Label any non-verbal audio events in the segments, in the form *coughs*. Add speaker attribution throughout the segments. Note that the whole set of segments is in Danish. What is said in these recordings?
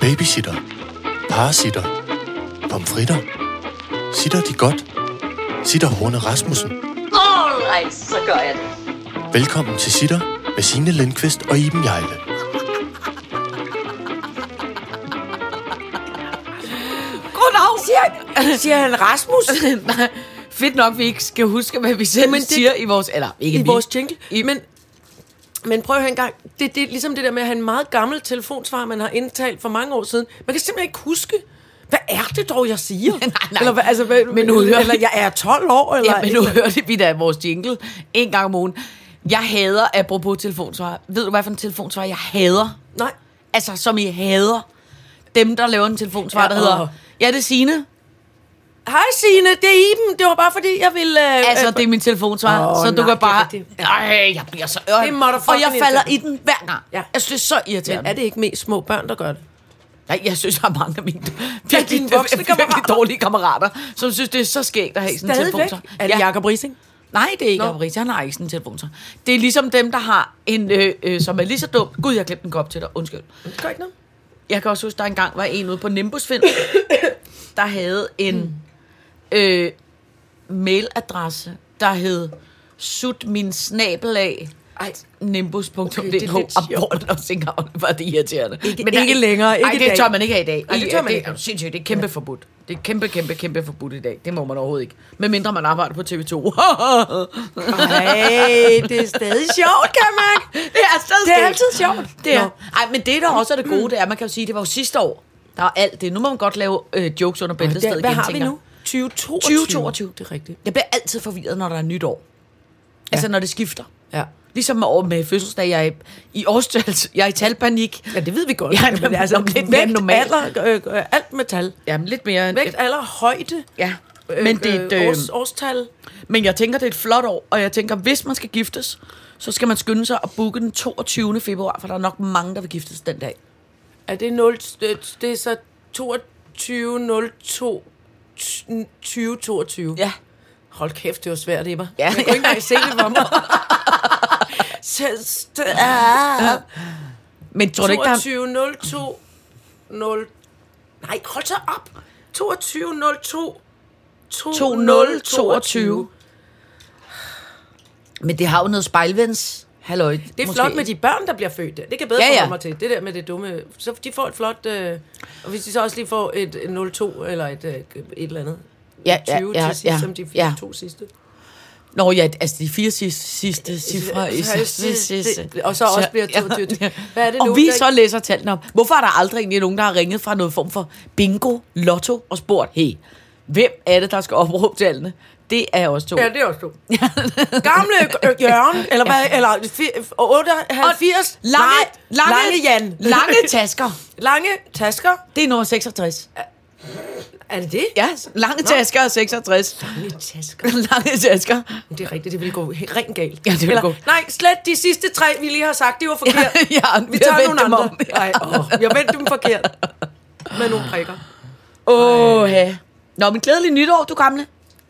Speaker 1: Babysitter. Parasitter. Pomfritter. Sitter de godt? Sitter Horne Rasmussen.
Speaker 2: Alright, så gør jeg det.
Speaker 1: Velkommen til Sitter med Signe Lindqvist og Iben Jejle.
Speaker 3: Goddag!
Speaker 4: Siger, siger han Rasmus?
Speaker 3: *laughs* Nej, Fedt nok, vi ikke skal huske, hvad vi selv
Speaker 4: Men
Speaker 3: Men
Speaker 4: det-
Speaker 3: det, siger i vores... Eller ikke
Speaker 4: I
Speaker 3: vi.
Speaker 4: vores jingle.
Speaker 3: I-
Speaker 4: Men, men prøv at høre en gang. Det, det er ligesom det der med at have en meget gammel telefonsvar, man har indtalt for mange år siden. Man kan simpelthen ikke huske, hvad er det dog, jeg siger?
Speaker 3: *laughs* Nej, nej.
Speaker 4: Eller, hvad- altså, hvad,
Speaker 3: Men nu hører
Speaker 4: eller
Speaker 3: vi-
Speaker 4: jeg er 12 år, eller...
Speaker 3: Ja, men nu hørte vi da vores jingle en gang om ugen. Jeg hader, apropos telefonsvar. Ved du, hvad for en telefonsvar jeg hader?
Speaker 4: Nej.
Speaker 3: Altså, som I hader. Dem, der laver en telefonsvar,
Speaker 4: Ja,
Speaker 3: ja, der hedder...
Speaker 4: åh. Øh,
Speaker 3: Ja, det er Signe.
Speaker 4: Hej Signe, det er Iben. Det var bare fordi, jeg ville... Øh,
Speaker 3: Altså, det er min telefonsvar,
Speaker 4: Åh,
Speaker 3: oh, så du
Speaker 4: nej, det
Speaker 3: kan
Speaker 4: er
Speaker 3: bare...
Speaker 4: rigtigt.
Speaker 3: Nej, jeg bliver så
Speaker 4: Det er
Speaker 3: ørn.
Speaker 4: motherfucking
Speaker 3: Og jeg falder i
Speaker 4: irriterende.
Speaker 3: den hver gang.
Speaker 4: Ja.
Speaker 3: Ja. Jeg synes så
Speaker 4: øh,
Speaker 3: irriterende.
Speaker 4: er det ikke mest små børn, der gør det?
Speaker 3: Nej, jeg synes, der er mange af mine
Speaker 4: dine voksne
Speaker 3: virkelig, virkelig, virkelig
Speaker 4: kammerater.
Speaker 3: dårlige kammerater, som synes, det er så skægt at have sådan en telefon. så.
Speaker 4: Er det ja. Jacob Rising?
Speaker 3: Nej, det er ikke
Speaker 4: Nå.
Speaker 3: Jacob Riis. Han har ikke sådan en telefon. så. Det er ligesom dem, der har en, øh, øh, som er lige så dum. Gud, jeg glemte en kop til dig. Undskyld.
Speaker 4: Det gør ikke noget.
Speaker 3: Jeg kan også huske, der engang var en ude på Nimbusfilm, *coughs* der havde en
Speaker 4: Mm.
Speaker 3: øh, mailadresse, der hed sut min snabel af
Speaker 4: Ej.
Speaker 3: nimbus.dk, okay,
Speaker 4: det er
Speaker 3: det
Speaker 4: lidt
Speaker 3: er og
Speaker 4: sjovt.
Speaker 3: hvor den også tænker, "Åh, hvor er det irriterende.
Speaker 4: Ikke- ikke længere, ikke
Speaker 3: ej,
Speaker 4: i
Speaker 3: det
Speaker 4: dag.
Speaker 3: tør man ikke have i dag.
Speaker 4: Ej, det tør man
Speaker 3: det,
Speaker 4: ikke.
Speaker 3: er jo sindssygt, det er kæmpe forbudt. Det er kæmpe, kæmpe, kæmpe forbudt i dag. Det må man overhovedet ikke. Medmindre man arbejder på TV2. *laughs*
Speaker 4: Nej, det er stadig sjovt, kan jeg mærke.
Speaker 3: det er stadig
Speaker 4: Det er
Speaker 3: skægt.
Speaker 4: altid sjovt.
Speaker 3: Det er.
Speaker 4: Nå. Mm.
Speaker 3: Ej, men det, der også er det gode, det er, man kan jo sige, det var jo sidste år. Der er alt det. Nu må man godt lave øh, jokes under bæltestedet igen,
Speaker 4: Hvad har vi
Speaker 3: tænker jeg.
Speaker 4: nu? 2022.
Speaker 3: 2022.
Speaker 4: Det er rigtigt.
Speaker 3: Jeg bliver altid forvirret, når der er nytår. Altså, når det skifter.
Speaker 4: Ja.
Speaker 3: Ligesom med, år med fødselsdag, jeg er i, i årstals, *laughs* jeg er i talpanik.
Speaker 4: Ja, det ved vi godt.
Speaker 3: Ja,
Speaker 4: Jamen,
Speaker 3: *laughs* men
Speaker 4: altså,
Speaker 3: nok lidt mere
Speaker 4: vægt,
Speaker 3: normalt.
Speaker 4: alder, øh, øh, alt med tal.
Speaker 3: Jamen, lidt mere end...
Speaker 4: Vægt, alder, højde.
Speaker 3: Ja, men, det er et, øh,
Speaker 4: års, årstal.
Speaker 3: men jeg tænker, det er et flot år, og jeg tænker, hvis man skal giftes, så skal man skynde sig at booke den 22. februar, for der er nok mange, der vil giftes den dag.
Speaker 4: Er det 0, øh, det er så 22, 02, 2022.
Speaker 3: Ja.
Speaker 4: Hold kæft, det var svært, Ebba.
Speaker 3: Ja.
Speaker 4: Jeg kunne ikke
Speaker 3: *laughs*
Speaker 4: engang se det for mig. Så, st- ah.
Speaker 3: Men tror du ikke, der er...
Speaker 4: 22, 02, 0... Nej, hold så op. 22, 02,
Speaker 3: 2022. Men det har jo noget spejlvens. Halløj,
Speaker 4: Det er Måske. flot med de børn, der bliver født der. Det kan jeg bedre
Speaker 3: Ja,
Speaker 4: ja,
Speaker 3: ja.
Speaker 4: ja. mig til. Det der med det dumme. Så de får et flot... Øh, og hvis de så også lige får et, et 02 eller et, øh, et eller andet.
Speaker 3: ja,
Speaker 4: 20 til sidst, som de
Speaker 3: ja.
Speaker 4: to sidste.
Speaker 3: Nå ja, altså de fire sidste,
Speaker 4: Øh,
Speaker 3: sidste cifre. i-
Speaker 4: Så-
Speaker 3: sidste-
Speaker 4: sidste-
Speaker 3: sidste.
Speaker 4: og så også bliver
Speaker 3: ja,
Speaker 4: 22.
Speaker 3: *laughs* ja.
Speaker 4: Hvad er det
Speaker 3: og
Speaker 4: nu,
Speaker 3: vi
Speaker 4: der-
Speaker 3: så læser tallene op. Hvorfor er der aldrig egentlig nogen, der har ringet fra noget form for bingo, lotto og spurgt, hey, hvem er det, der skal opråbe tallene? Det er også to.
Speaker 4: Ja, det er også to. *laughs* Gamle øh, Jørgen, eller hvad? Eller fi- 98.
Speaker 3: Lange,
Speaker 4: Nej,
Speaker 3: lange,
Speaker 4: lange Jan.
Speaker 3: lange tasker.
Speaker 4: *laughs* Lange tasker.
Speaker 3: Det er nummer 66.
Speaker 4: Er det det?
Speaker 3: Ja, lange tasker er 66.
Speaker 4: Lange tasker.
Speaker 3: *laughs* Lange tasker.
Speaker 4: Men Det er rigtigt, det ville gå he- rent galt.
Speaker 3: Ja, det ville gå.
Speaker 4: Nej, slet de sidste tre, vi lige har sagt, det var forkert.
Speaker 3: *laughs* Ja, ja,
Speaker 4: vi
Speaker 3: vi har
Speaker 4: tager
Speaker 3: vendt
Speaker 4: nogle
Speaker 3: dem
Speaker 4: andre.
Speaker 3: om. Ja.
Speaker 4: Nej, åh, jeg vendte dem forkert. Med nogle prikker.
Speaker 3: Åh, ja. Nå, men glædelig nytår, du gamle.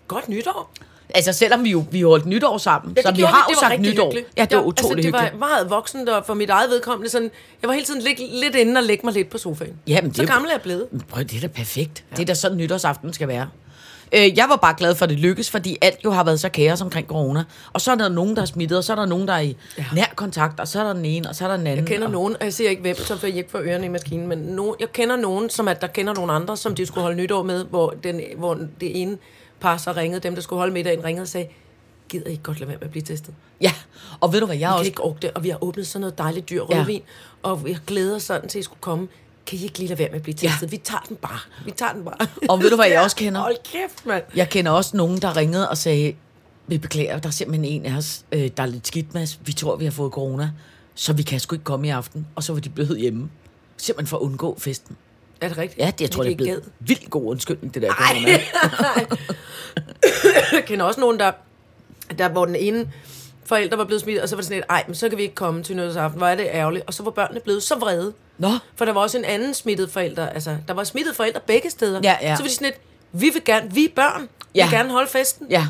Speaker 4: Godt nytår.
Speaker 3: Altså, selvom vi jo vi holdt nytår sammen, så vi
Speaker 4: gjorde
Speaker 3: har
Speaker 4: Det
Speaker 3: jo
Speaker 4: var
Speaker 3: sagt
Speaker 4: rigtig
Speaker 3: nytår.
Speaker 4: hyggeligt.
Speaker 3: Ja, det var
Speaker 4: Jo, altså,
Speaker 3: utroligt
Speaker 4: det var
Speaker 3: hyggeligt.
Speaker 4: meget voksent, og for mit eget vedkommende, sådan, jeg var hele tiden lidt, lidt inde og lægge mig lidt på sofaen.
Speaker 3: Jamen, det
Speaker 4: Så
Speaker 3: er jo-
Speaker 4: gammel er jeg blevet.
Speaker 3: Men Prøv, det er da perfekt. Ja. Det er da sådan nytårsaften skal være. Øh, jeg var bare glad for, at det lykkedes, fordi alt jo har været så kaos omkring corona. Og så er der nogen, der er smittet, og så er der nogen, der er i ja. nær kontakt, og så er der den ene, og så er der den anden.
Speaker 4: Jeg kender
Speaker 3: og...
Speaker 4: nogen, og jeg siger ikke hvem, så får jeg ikke for ørerne i maskinen, men nogen, jeg kender nogen, som at der kender nogle andre, som de skulle holde nytår med, hvor, den, hvor det ene par så ringede, dem der skulle holde middagen ringede og sagde, gider I ikke godt lade være med at blive testet?
Speaker 3: Ja, og ved du hvad, jeg
Speaker 4: Jeg kan
Speaker 3: også...
Speaker 4: ikke orke det, og vi har åbnet sådan noget dejligt dyr
Speaker 3: Ja.
Speaker 4: rødvin, ja. og jeg glæder sådan til, at I skulle komme. Kan I ikke lige lade være med at blive
Speaker 3: Ja.
Speaker 4: testet? Ja. Vi tager den bare. Vi tager den bare.
Speaker 3: Og ved du, hvad
Speaker 4: *laughs*
Speaker 3: jeg
Speaker 4: Ja,
Speaker 3: også kender?
Speaker 4: Hold kæft, mand.
Speaker 3: Jeg kender også nogen, der ringede og sagde, vi beklager, der er simpelthen en af os, øh, der er lidt skidt med os. Vi tror, vi har fået corona, så vi kan sgu ikke komme i aften. Og så var de blevet hjemme. Simpelthen for at undgå festen.
Speaker 4: Er det rigtigt?
Speaker 3: Ja, det, jeg tror, det er
Speaker 4: ikke
Speaker 3: blevet vildt god undskyldning, det der corona.
Speaker 4: gad. Jeg *laughs* kender også nogen, der, der hvor den ene forælder var blevet smittet, og så var det sådan lidt, ej, men så kan vi ikke komme til nytårsaften. Hvor er det ærgerligt. Og så var børnene blevet så vrede.
Speaker 3: Nå.
Speaker 4: For der var også en anden smittet forælder. Altså, der var smittet forældre begge steder.
Speaker 3: Ja, ja.
Speaker 4: Så var de sådan lidt, vi vil gerne, vi er børn, ja.
Speaker 3: Ja.
Speaker 4: vil gerne holde festen.
Speaker 3: Ja.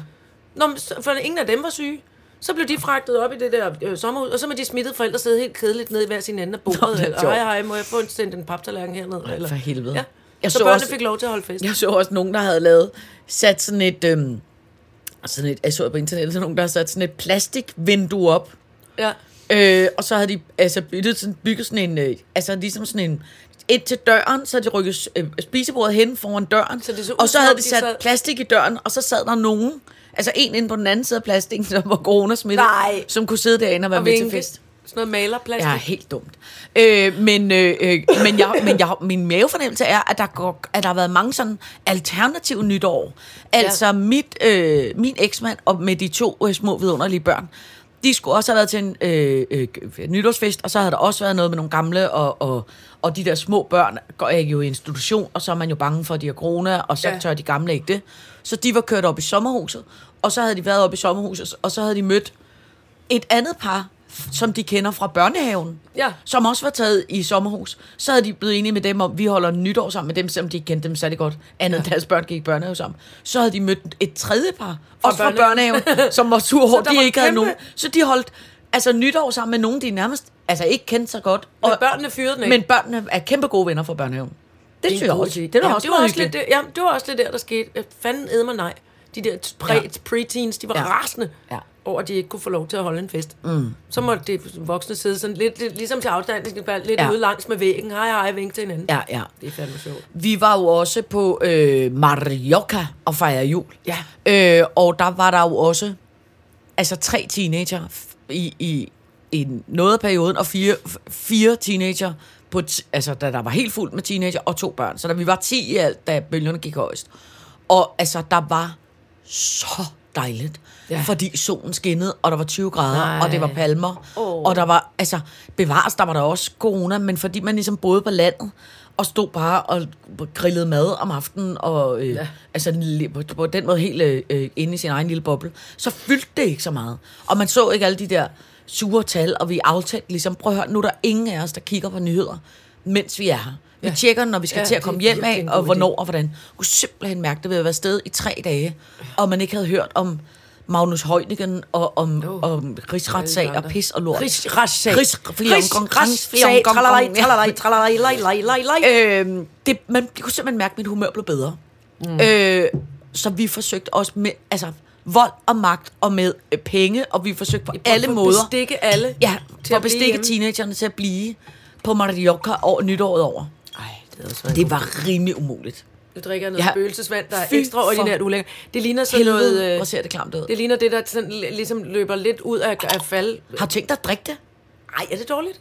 Speaker 4: Nå, men så- for ingen af dem var syge. Så blev de fragtet op i det der øh, sommerhus, og så må de smittede forældre sidde helt kedeligt nede i hver sin ende af
Speaker 3: Nå, det
Speaker 4: bordet.
Speaker 3: er
Speaker 4: eller,
Speaker 3: sjovt.
Speaker 4: hej, hej, må jeg få en, sendt en paptallerken herned? Eller,
Speaker 3: for helvede.
Speaker 4: Ja.
Speaker 3: Jeg
Speaker 4: så
Speaker 3: så
Speaker 4: børnene
Speaker 3: også-
Speaker 4: fik lov til at holde fest.
Speaker 3: Jeg så også nogen, der havde lavet, sat sådan et, øhm, sådan et, jeg så på internettet, sådan nogen, der havde sat sådan et plastikvindue op,
Speaker 4: Ja.
Speaker 3: Øh, og så havde de altså bygget sådan, bygget sådan en, øh, altså ligesom sådan en, ind til døren, så havde de rykket øh, spisebordet hen foran døren,
Speaker 4: Så det så ud,
Speaker 3: og så
Speaker 4: som
Speaker 3: havde
Speaker 4: om
Speaker 3: de
Speaker 4: de
Speaker 3: sat
Speaker 4: sad-
Speaker 3: plastik i døren, og så sad der nogen, altså en inde på den anden side af plastikken, *laughs* som var coronasmittet,
Speaker 4: Nej.
Speaker 3: som kunne sidde derinde og være
Speaker 4: Og
Speaker 3: med til
Speaker 4: vinke.
Speaker 3: fest.
Speaker 4: Sådan noget malerplastik.
Speaker 3: Ja, helt dumt. Øh, men øh, øh, men, jeg, men jeg, min mavefornemmelse er, at der, går, at der har været mange sådan alternative nytår. Altså ja. mit, øh, min eksmand og med de to øh, små vidunderlige børn, de skulle også have været til en øh, øh, nytårsfest, og så havde der også været noget med nogle gamle, og, og, og de der små børn går ikke jo i institution, og så er man jo bange for, at de har corona, og så ja.
Speaker 4: Ja.
Speaker 3: tør de gamle ikke det. Så de var kørt op i sommerhuset, og så havde de været op i sommerhuset, og så havde de mødt et andet par, som de kender fra børnehaven,
Speaker 4: Ja.
Speaker 3: som også var taget i sommerhus, så havde de blevet enige med dem om, vi holder nytår sammen med dem, selvom de ikke kendte dem særlig godt, andet ja. end deres børn gik i børnehave sammen. Så havde de mødt et tredje par, fra også fra
Speaker 4: børnehaven.
Speaker 3: børnehaven, som var
Speaker 4: *laughs*
Speaker 3: sur over,
Speaker 4: der
Speaker 3: de
Speaker 4: var
Speaker 3: ikke havde
Speaker 4: kæmpe-
Speaker 3: nogen. Så de holdt altså nytår sammen med nogen, de nærmest altså ikke kendte så godt.
Speaker 4: Men børnene fyrede den ikke.
Speaker 3: Men børnene er kæmpe gode venner fra børnehaven. Det,
Speaker 4: en
Speaker 3: synes jeg
Speaker 4: god
Speaker 3: også.
Speaker 4: idé.
Speaker 3: Det er da
Speaker 4: Jamen,
Speaker 3: også,
Speaker 4: det var
Speaker 3: noget
Speaker 4: også lidt,
Speaker 3: hyggeligt.
Speaker 4: det, jamen, det var også lidt der, der skete. Øh, Fanden æd mig nej. De der t- pre,
Speaker 3: Ja.
Speaker 4: ja. preteens, de var
Speaker 3: Ja.
Speaker 4: ja. rasende
Speaker 3: Ja.
Speaker 4: ja. over, at de ikke kunne få lov til at holde en fest. Mm. Så måtte de voksne sidde sådan lidt, lidt ligesom til afstandning, lidt
Speaker 3: Ja.
Speaker 4: ja. ude langs med væggen. Hej, hej, vink til hinanden.
Speaker 3: Ja, ja.
Speaker 4: Det er fandme sjovt.
Speaker 3: Vi var jo også på øh, Mallorca og fejrede jul.
Speaker 4: Ja.
Speaker 3: Øh, og der var der jo også altså tre teenager f- i, i, i noget af perioden, og fire, f- fire teenager, på t- altså da der var helt fuldt med teenager, og to børn. Så da vi var ti i alt, da bølgerne gik højst. Og altså, der var så dejligt. Ja.
Speaker 4: Ja.
Speaker 3: Fordi solen skinnede, og der var 20 grader, Nej.
Speaker 4: Nej.
Speaker 3: og det var palmer. Oh.
Speaker 4: Åh.
Speaker 3: Og der var, altså, bevares, der var der også corona, men fordi man ligesom boede på landet, og stod bare og grillede mad om aftenen, og øh, ja. altså li- på, på den måde helt øh, øh, inde i sin egen lille boble, så fyldte det ikke så meget. Og man så ikke alle de der sure tal, og vi aftalte ligesom, prøv at høre, nu er der ingen af os, der kigger på nyheder, mens vi er her. Vi ja. tjekker, når vi skal ja,
Speaker 4: Ja,
Speaker 3: til at
Speaker 4: det
Speaker 3: komme
Speaker 4: er
Speaker 3: hjem
Speaker 4: virkelig
Speaker 3: af,
Speaker 4: en
Speaker 3: og
Speaker 4: god idé.
Speaker 3: hvornår og hvordan. Jeg kunne simpelthen mærke det ved at være sted i tre dage, og man ikke havde hørt om Magnus Heunicke og om, oh, om rigsretssag og pis og lort.
Speaker 4: Rigs- retssag.
Speaker 3: Rigs- flere
Speaker 4: Rigs-
Speaker 3: omgang-
Speaker 4: retssag.
Speaker 3: flere omgang-
Speaker 4: Tralalaj,
Speaker 3: omgang-
Speaker 4: tralalaj, tralalaj, laj, laj, laj, laj.
Speaker 3: Øhm, det, man jeg kunne simpelthen mærke, at mit humør blev bedre. Mm. Øh, så vi forsøgte også med altså, vold og magt og med øh, penge, og vi forsøgte på alle
Speaker 4: For at
Speaker 3: måder
Speaker 4: Bestikke alle.
Speaker 3: ja,
Speaker 4: til
Speaker 3: for
Speaker 4: blive
Speaker 3: at bestikke
Speaker 4: hjemme.
Speaker 3: teenagerne til at blive på Mallorca år, nytåret over.
Speaker 4: Ej, det er også været en
Speaker 3: Det var rimelig umuligt.
Speaker 4: Nu drikker jeg noget
Speaker 3: Ja.
Speaker 4: ja. spøgelsesvand, der er
Speaker 3: Fy
Speaker 4: ekstraordinært
Speaker 3: for
Speaker 4: ulækkert. Det ligner sådan
Speaker 3: Helvede,
Speaker 4: noget... øh,
Speaker 3: hvor ser det klamt ud.
Speaker 4: Det ligner det, der sådan, li- ligesom løber lidt ud af, af fald.
Speaker 3: Har du tænkt dig at drikke det?
Speaker 4: Ej, er det dårligt?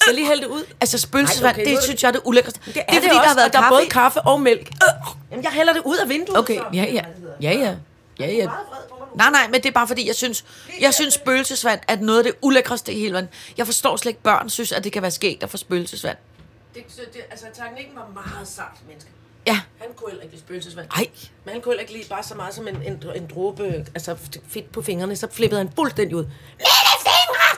Speaker 4: Skal jeg lige hælde det ud?
Speaker 3: Altså spøgelsesvand,
Speaker 4: Ej, okay,
Speaker 3: okay,
Speaker 4: nu
Speaker 3: det
Speaker 4: er det-
Speaker 3: synes jeg er det ulækreste. Det er,
Speaker 4: det
Speaker 3: fordi, der har været
Speaker 4: og der er
Speaker 3: kaffe.
Speaker 4: både kaffe og mælk. Øh, Jamen, jeg hælder det ud af vinduet.
Speaker 3: Okay, ja, ja. Ja, ja. Ja, ja. Nej, nej, men det er bare fordi, jeg synes, jeg synes spøgelsesvand er noget af det ulækreste i hele verden. Jeg forstår slet ikke, børn synes, at det kan være skægt at få spøgelsesvand.
Speaker 4: Det, det, altså, teknikken var meget sart, menneske.
Speaker 3: Ja.
Speaker 4: Han kunne heller ikke lide spøgelsesvand.
Speaker 3: Ej.
Speaker 4: Men han kunne heller ikke lide bare så meget som en, en, en dråbe, altså f- fedt på fingrene, så flippede han fuldstændig ud. Mine fingre!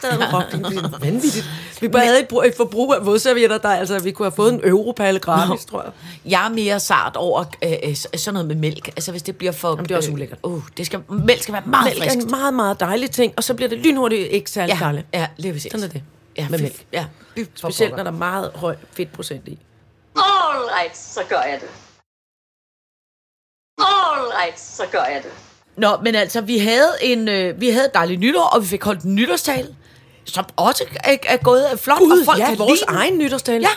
Speaker 4: Så havde han råbt. Det var vanvittigt. Vi bare havde et, brug- et forbrug af vådservietter, der altså, vi kunne have fået en europal gratis, tror jeg.
Speaker 3: Jeg er mere sart over øh, øh, s- sådan noget med mælk. Altså, hvis det bliver for... Jamen,
Speaker 4: det er også ulækkert.
Speaker 3: Uh, det skal, mælk skal være meget
Speaker 4: Mælk er
Speaker 3: frisk.
Speaker 4: en meget, meget dejlig ting, og så bliver det lynhurtigt ikke særlig ja.
Speaker 3: Ja,
Speaker 4: farligt.
Speaker 3: ja, lige præcis.
Speaker 4: Sådan er det.
Speaker 3: Ja,
Speaker 4: Med
Speaker 3: fy-
Speaker 4: mælk.
Speaker 3: Ja, fy for
Speaker 4: Specielt når
Speaker 3: pokker.
Speaker 4: der er meget høj fedtprocent i.
Speaker 2: All right, så gør jeg det. All right, så gør jeg det.
Speaker 3: Nå, men altså, vi havde en øh, vi havde et dejligt nytår, og vi fik holdt en nytårstal, som også er, er gået øh, flot, og folk
Speaker 4: ja,
Speaker 3: kan
Speaker 4: vores
Speaker 3: lide den.
Speaker 4: egen nytårstale.
Speaker 3: Ja.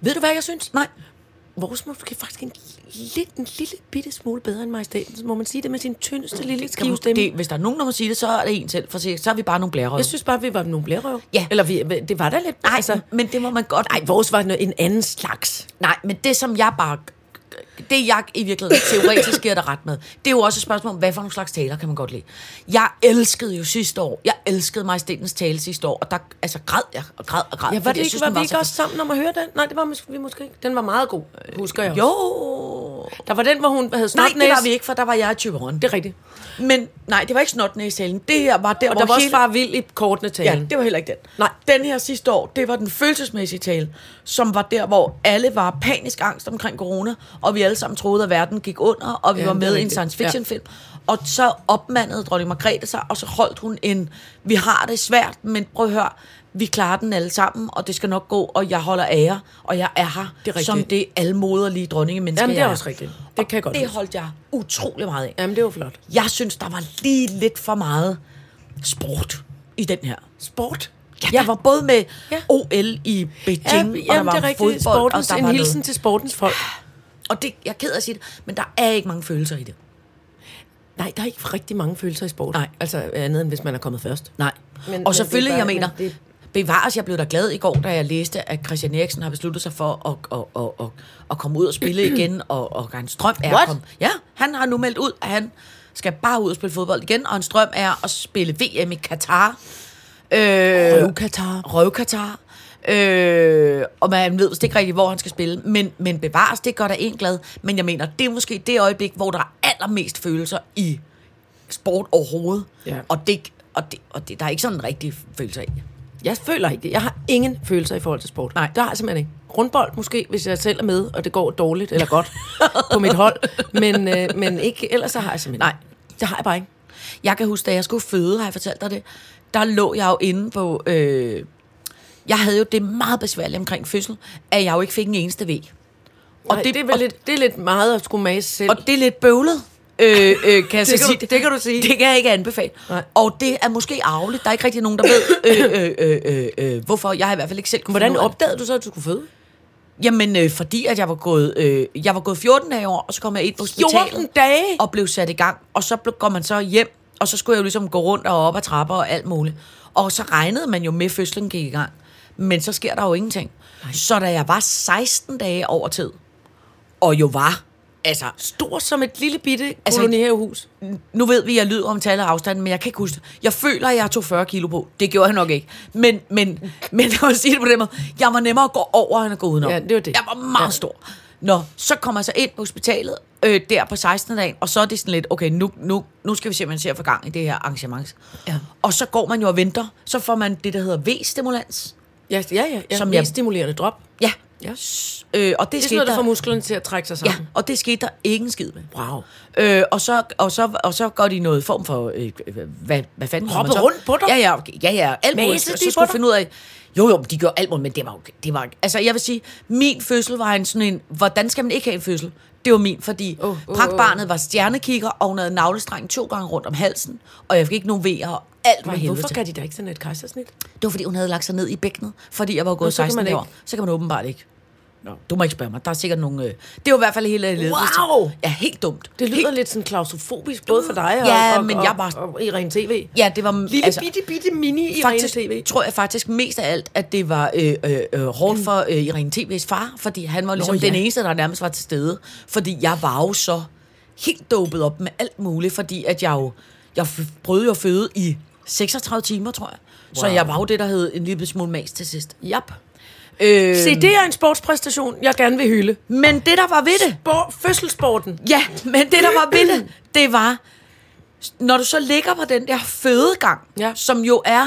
Speaker 4: Ved du, hvad jeg synes?
Speaker 3: Nej.
Speaker 4: Vores måske faktisk en lidt, en lille bitte smule bedre end majestæten. Så må man sige det med sin tyndeste lille
Speaker 3: Skal
Speaker 4: skive
Speaker 3: man-
Speaker 4: stemme.
Speaker 3: Det, hvis der er nogen, der må sige det, så er det en selv, for se, så er vi bare nogle blærerøv.
Speaker 4: Jeg synes bare, vi var nogle blærerøv.
Speaker 3: Ja.
Speaker 4: Eller vi, det var da lidt...
Speaker 3: nej, altså, men det må man godt.
Speaker 4: nej, vores var noget- en anden slags.
Speaker 3: nej, men det som jeg bare... Det jeg i virkeligheden teoretisk giver dig ret med, det er jo også et spørgsmål om, hvad for nogle slags taler kan man godt lide. Jeg elskede jo sidste år, jeg elskede majestætens tale sidste år, og der altså, græd jeg og græd og græd.
Speaker 4: Ja, var,
Speaker 3: fordi
Speaker 4: det
Speaker 3: jeg
Speaker 4: ikke,
Speaker 3: synes,
Speaker 4: var
Speaker 3: den
Speaker 4: vi ikke
Speaker 3: så
Speaker 4: også sammen om at høre den? Nej, det var mås- vi måske ikke. Den var meget god, husker jeg
Speaker 3: fed.
Speaker 4: også.
Speaker 3: Jo.
Speaker 4: Der var den, hvor hun havde
Speaker 3: Nej,
Speaker 4: snotnæs.
Speaker 3: det var vi ikke, for der var jeg i Tøberen.
Speaker 4: Det er rigtigt.
Speaker 3: Men nej, det var ikke snotnæstalen. Det her var der,
Speaker 4: Og
Speaker 3: hvor
Speaker 4: der var også
Speaker 3: hele...
Speaker 4: far vild i kortene talen.
Speaker 3: Ja, det var heller ikke den. Nej, den her sidste år, det var den følelsesmæssige tale, som var der, hvor alle var panisk angst omkring corona, og vi alle sammen troede, at verden gik under, og vi ja,
Speaker 4: Ja,
Speaker 3: var
Speaker 4: det er
Speaker 3: med i en
Speaker 4: rigtigt.
Speaker 3: science fiction film. Og så opmandede dronning Margrethe sig, og så holdt hun en, vi har det svært, men prøv at høre, vi klarer den alle sammen, og det skal nok gå, og jeg holder af jer, og jeg er her,
Speaker 4: Det er rigtigt.
Speaker 3: som det almoderlige dronningemenneske,
Speaker 4: Jamen, det er
Speaker 3: jeg
Speaker 4: også rigtigt. Det
Speaker 3: Og
Speaker 4: kan jeg godt
Speaker 3: Det
Speaker 4: huske.
Speaker 3: holdt jeg utrolig meget af.
Speaker 4: Jamen, det var flot.
Speaker 3: Jeg synes, der var lige lidt for meget sport i den her.
Speaker 4: Sport.
Speaker 3: Ja, jeg var både med
Speaker 4: Ja.
Speaker 3: ja. OL i Beijing, ja,
Speaker 4: jamen,
Speaker 3: og der var
Speaker 4: det er rigtigt.
Speaker 3: fodbold,
Speaker 4: sportens,
Speaker 3: og
Speaker 4: en
Speaker 3: der var
Speaker 4: hilsen
Speaker 3: noget.
Speaker 4: til sportens folk.
Speaker 3: Og det, jeg er ked af at sige det, men der er ikke mange følelser i det.
Speaker 4: Nej, der er ikke rigtig mange følelser i sport.
Speaker 3: Nej.
Speaker 4: Altså andet end hvis man er kommet først.
Speaker 3: Nej.
Speaker 4: Men-
Speaker 3: Men,
Speaker 4: men
Speaker 3: og selvfølgelig,
Speaker 4: det er
Speaker 3: jeg
Speaker 4: bare-
Speaker 3: mener,
Speaker 4: men
Speaker 3: det... bevares, jeg blev da glad i går, da jeg læste, at Christian Eriksen har besluttet sig for at, at, at, at, at komme ud og spille
Speaker 4: *clears throat*
Speaker 3: igen, og, og hans drøm er
Speaker 4: What?
Speaker 3: at komme... Ja, han har nu meldt ud, at han skal bare ud og spille fodbold igen, og hans drøm er at spille VM i Katar. Øh,
Speaker 4: Qatar.
Speaker 3: røvkatar. Øh, og man ved vist ikke rigtig, hvor han skal spille. Men, men bevares, det gør da en glad. Men jeg mener, det er måske det øjeblik, hvor der er allermest følelser i sport overhovedet.
Speaker 4: Ja.
Speaker 3: Og, det, og, det, og det, der er ikke sådan en rigtig følelse af.
Speaker 4: Jeg føler ikke det. Jeg har ingen følelser i forhold til sport.
Speaker 3: Nej.
Speaker 4: Der har jeg simpelthen ikke. Rundbold måske, hvis jeg selv er med, og det går dårligt eller
Speaker 3: *laughs*
Speaker 4: godt på mit hold. Men, øh, men ikke, ellers så har jeg simpelthen
Speaker 3: Nej.
Speaker 4: Det har jeg bare ikke.
Speaker 3: Jeg kan huske, da jeg skulle føde, har jeg fortalt dig det, der lå jeg jo inde på... Øh, jeg havde jo det meget besværligt omkring fødsel, at jeg jo ikke fik en eneste væg.
Speaker 4: Og det, det, er vel lidt, det er lidt meget at skulle mase selv.
Speaker 3: Og det er lidt bøvlet. Øh, øh, kan
Speaker 4: *laughs* Det
Speaker 3: jeg så
Speaker 4: kan
Speaker 3: sige.
Speaker 4: du- det kan du sige.
Speaker 3: Det kan jeg ikke anbefale.
Speaker 4: Nej.
Speaker 3: Og det er måske arveligt. Der er ikke rigtig nogen, der ved, øh, øh, øh, øh, øh, hvorfor. Jeg har i hvert fald ikke selv kunne
Speaker 4: Hvordan
Speaker 3: finde ud af det.
Speaker 4: opdagede du så, at du skulle føde?
Speaker 3: Jamen, øh, fordi at jeg var gået øh, jeg var gået 14 dage over, og så kom jeg ind på hospitalet.
Speaker 4: 14 dage?
Speaker 3: Og blev sat i gang. Og så blev, går man så hjem, og så skulle jeg jo ligesom gå rundt og op ad trapper og alt muligt. Og så regnede man jo med, at fødslen gik i gang. Men så sker der jo ingenting. Nej. Så da jeg var 16 dage over tid, og jo var, altså
Speaker 4: Stor som et lille bitte
Speaker 3: Altså-
Speaker 4: kolonihavehus.
Speaker 3: nu ved vi, at jeg lyder om tal og afstand, men jeg kan ikke huske det. Jeg føler, at jeg tog 40 kilo på. Det gjorde jeg nok ikke. Men, men, *laughs* men jeg vil sige det på den måde. Jeg var nemmere at gå over, end at gå udenom.
Speaker 4: Ja, det var det.
Speaker 3: Jeg var meget
Speaker 4: Ja.
Speaker 3: ja. stor. Nå, så kommer jeg så ind på hospitalet øh, der på 16. dagen, og så er det sådan lidt, okay, nu, nu, nu skal vi simpelthen se at få gang i det her arrangement.
Speaker 4: Ja.
Speaker 3: Og så går man jo og venter. Så får man det, der hedder V-stimulans.
Speaker 4: Ja, ja, ja. ja.
Speaker 3: Som
Speaker 4: Mest
Speaker 3: jeg-
Speaker 4: stimulerende drop. Det
Speaker 3: Ja.
Speaker 4: Ja.
Speaker 3: S- Øh, og det,
Speaker 4: er sådan noget,
Speaker 3: det skete
Speaker 4: der får
Speaker 3: der,
Speaker 4: musklerne til at trække sig
Speaker 3: ja,
Speaker 4: sammen.
Speaker 3: og det skete der ikke en skid med.
Speaker 4: Wow.
Speaker 3: Øh, og, så, og, så, og så går de noget form for... Øh, hvad, hvad fanden har man
Speaker 4: Hopper
Speaker 3: så?
Speaker 4: rundt på dig?
Speaker 3: Ja, ja, ja, ja alt muligt.
Speaker 4: Maser
Speaker 3: Så,
Speaker 4: de på
Speaker 3: så skulle
Speaker 4: dig?
Speaker 3: finde ud af... Jo, jo, men de gør alt muligt, men det var jo... Det var, altså, jeg vil sige, min fødsel var en sådan en... Hvordan skal man ikke have en fødsel? Det var min, fordi
Speaker 4: Åh,
Speaker 3: oh,
Speaker 4: åh, åh.
Speaker 3: pragtbarnet var stjernekikker, og hun havde navlestrengen to gange rundt om halsen, og jeg fik ikke nogen vejer, og alt var
Speaker 4: Men
Speaker 3: helvede
Speaker 4: hvorfor
Speaker 3: til.
Speaker 4: kan de da ikke sådan et kejsersnit?
Speaker 3: Det var, fordi hun havde lagt sig ned i bækkenet, fordi jeg var
Speaker 4: Nå,
Speaker 3: gået
Speaker 4: så kan
Speaker 3: 16
Speaker 4: man
Speaker 3: dage år.
Speaker 4: ikke.
Speaker 3: Så kan man åbenbart ikke. No. Du må ikke spørge mig. Der er sikkert nogle... Øh, det var i hvert fald hele ledelsen.
Speaker 4: Wow!
Speaker 3: Ja, helt dumt.
Speaker 4: Det lyder
Speaker 3: helt
Speaker 4: helt... lidt sådan klaustrofobisk, både for dig og,
Speaker 3: Ja,
Speaker 4: og,
Speaker 3: men
Speaker 4: og,
Speaker 3: jeg var-
Speaker 4: og, og Irene TV.
Speaker 3: Ja, det var...
Speaker 4: Lille altså, bitte, bitte mini Irene
Speaker 3: faktisk,
Speaker 4: TV.
Speaker 3: tror jeg faktisk mest af alt, at det var øh, øh, øh, hårdt for øh, Irene TV's far, fordi han var ligesom
Speaker 4: ja.
Speaker 3: ja. den eneste, der nærmest var til stede. Fordi jeg var jo så helt dopet op med alt muligt, fordi at jeg jo... Jeg f- prøvede jo at føde i 36 timer, tror jeg. Wow. Så
Speaker 4: Wow.
Speaker 3: jeg var jo det, der hed en lille smule mas til sidst.
Speaker 4: Jap.
Speaker 3: Øh,
Speaker 4: Se, det er en sportspræstation, jeg gerne vil hylde.
Speaker 3: men det, der var ved det...
Speaker 4: Spor- fødselssporten.
Speaker 3: Ja, men det, der var ved det, det var, når du så ligger på den der fødegang,
Speaker 4: Ja.
Speaker 3: ja. som jo er,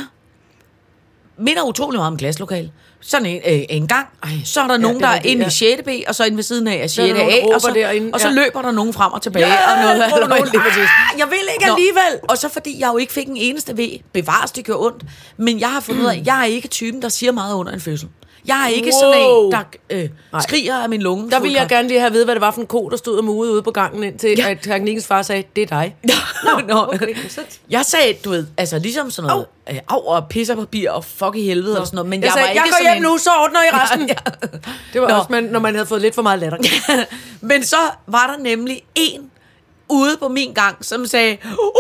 Speaker 3: minder utrolig meget om glaslokal. Sådan en, øh, en gang, så er der ja, nogen,
Speaker 4: det
Speaker 3: der
Speaker 4: er
Speaker 3: er
Speaker 4: rigtigt,
Speaker 3: inde
Speaker 4: ja.
Speaker 3: i 6. B, og så inde ved siden af er 6.
Speaker 4: er der nogen, der
Speaker 3: A, og
Speaker 4: råber
Speaker 3: så,
Speaker 4: derinde,
Speaker 3: og så
Speaker 4: ja.
Speaker 3: løber der nogen frem og tilbage.
Speaker 4: Ja,
Speaker 3: og noget,
Speaker 4: der råber nogen, lige
Speaker 3: Ah,
Speaker 4: præcis.
Speaker 3: jeg vil ikke
Speaker 4: Nå.
Speaker 3: alligevel. Og så fordi jeg jo ikke fik en eneste V, bevares, det gør ondt, men jeg har fundet
Speaker 4: Mm.
Speaker 3: ud af, at jeg er ikke typen, der siger meget under en fødsel. Jeg er ikke
Speaker 4: Wow.
Speaker 3: sådan en, der øh, skriger af min lunge.
Speaker 4: Der ville jeg gerne lige have ved, hvad det var for en ko, der stod og mugede ude på gangen, indtil ja. at teknikkens far sagde, det er dig.
Speaker 3: Nå, Nå.
Speaker 4: okay.
Speaker 3: Okay. Jeg sagde, du ved, altså ligesom sådan noget,
Speaker 4: Au.
Speaker 3: øh, au og pisser papir og fuck i helvede og sådan noget, men jeg,
Speaker 4: jeg sagde,
Speaker 3: var
Speaker 4: jeg
Speaker 3: ikke
Speaker 4: går
Speaker 3: sådan
Speaker 4: hjem
Speaker 3: en-
Speaker 4: nu, så ordner I resten.
Speaker 3: *laughs* Ja,
Speaker 4: Det var Nå.
Speaker 3: Nå.
Speaker 4: også, man, når man havde fået lidt for meget
Speaker 3: *laughs*
Speaker 4: latter.
Speaker 3: Men så var der nemlig en ude på min gang, som sagde, Ui!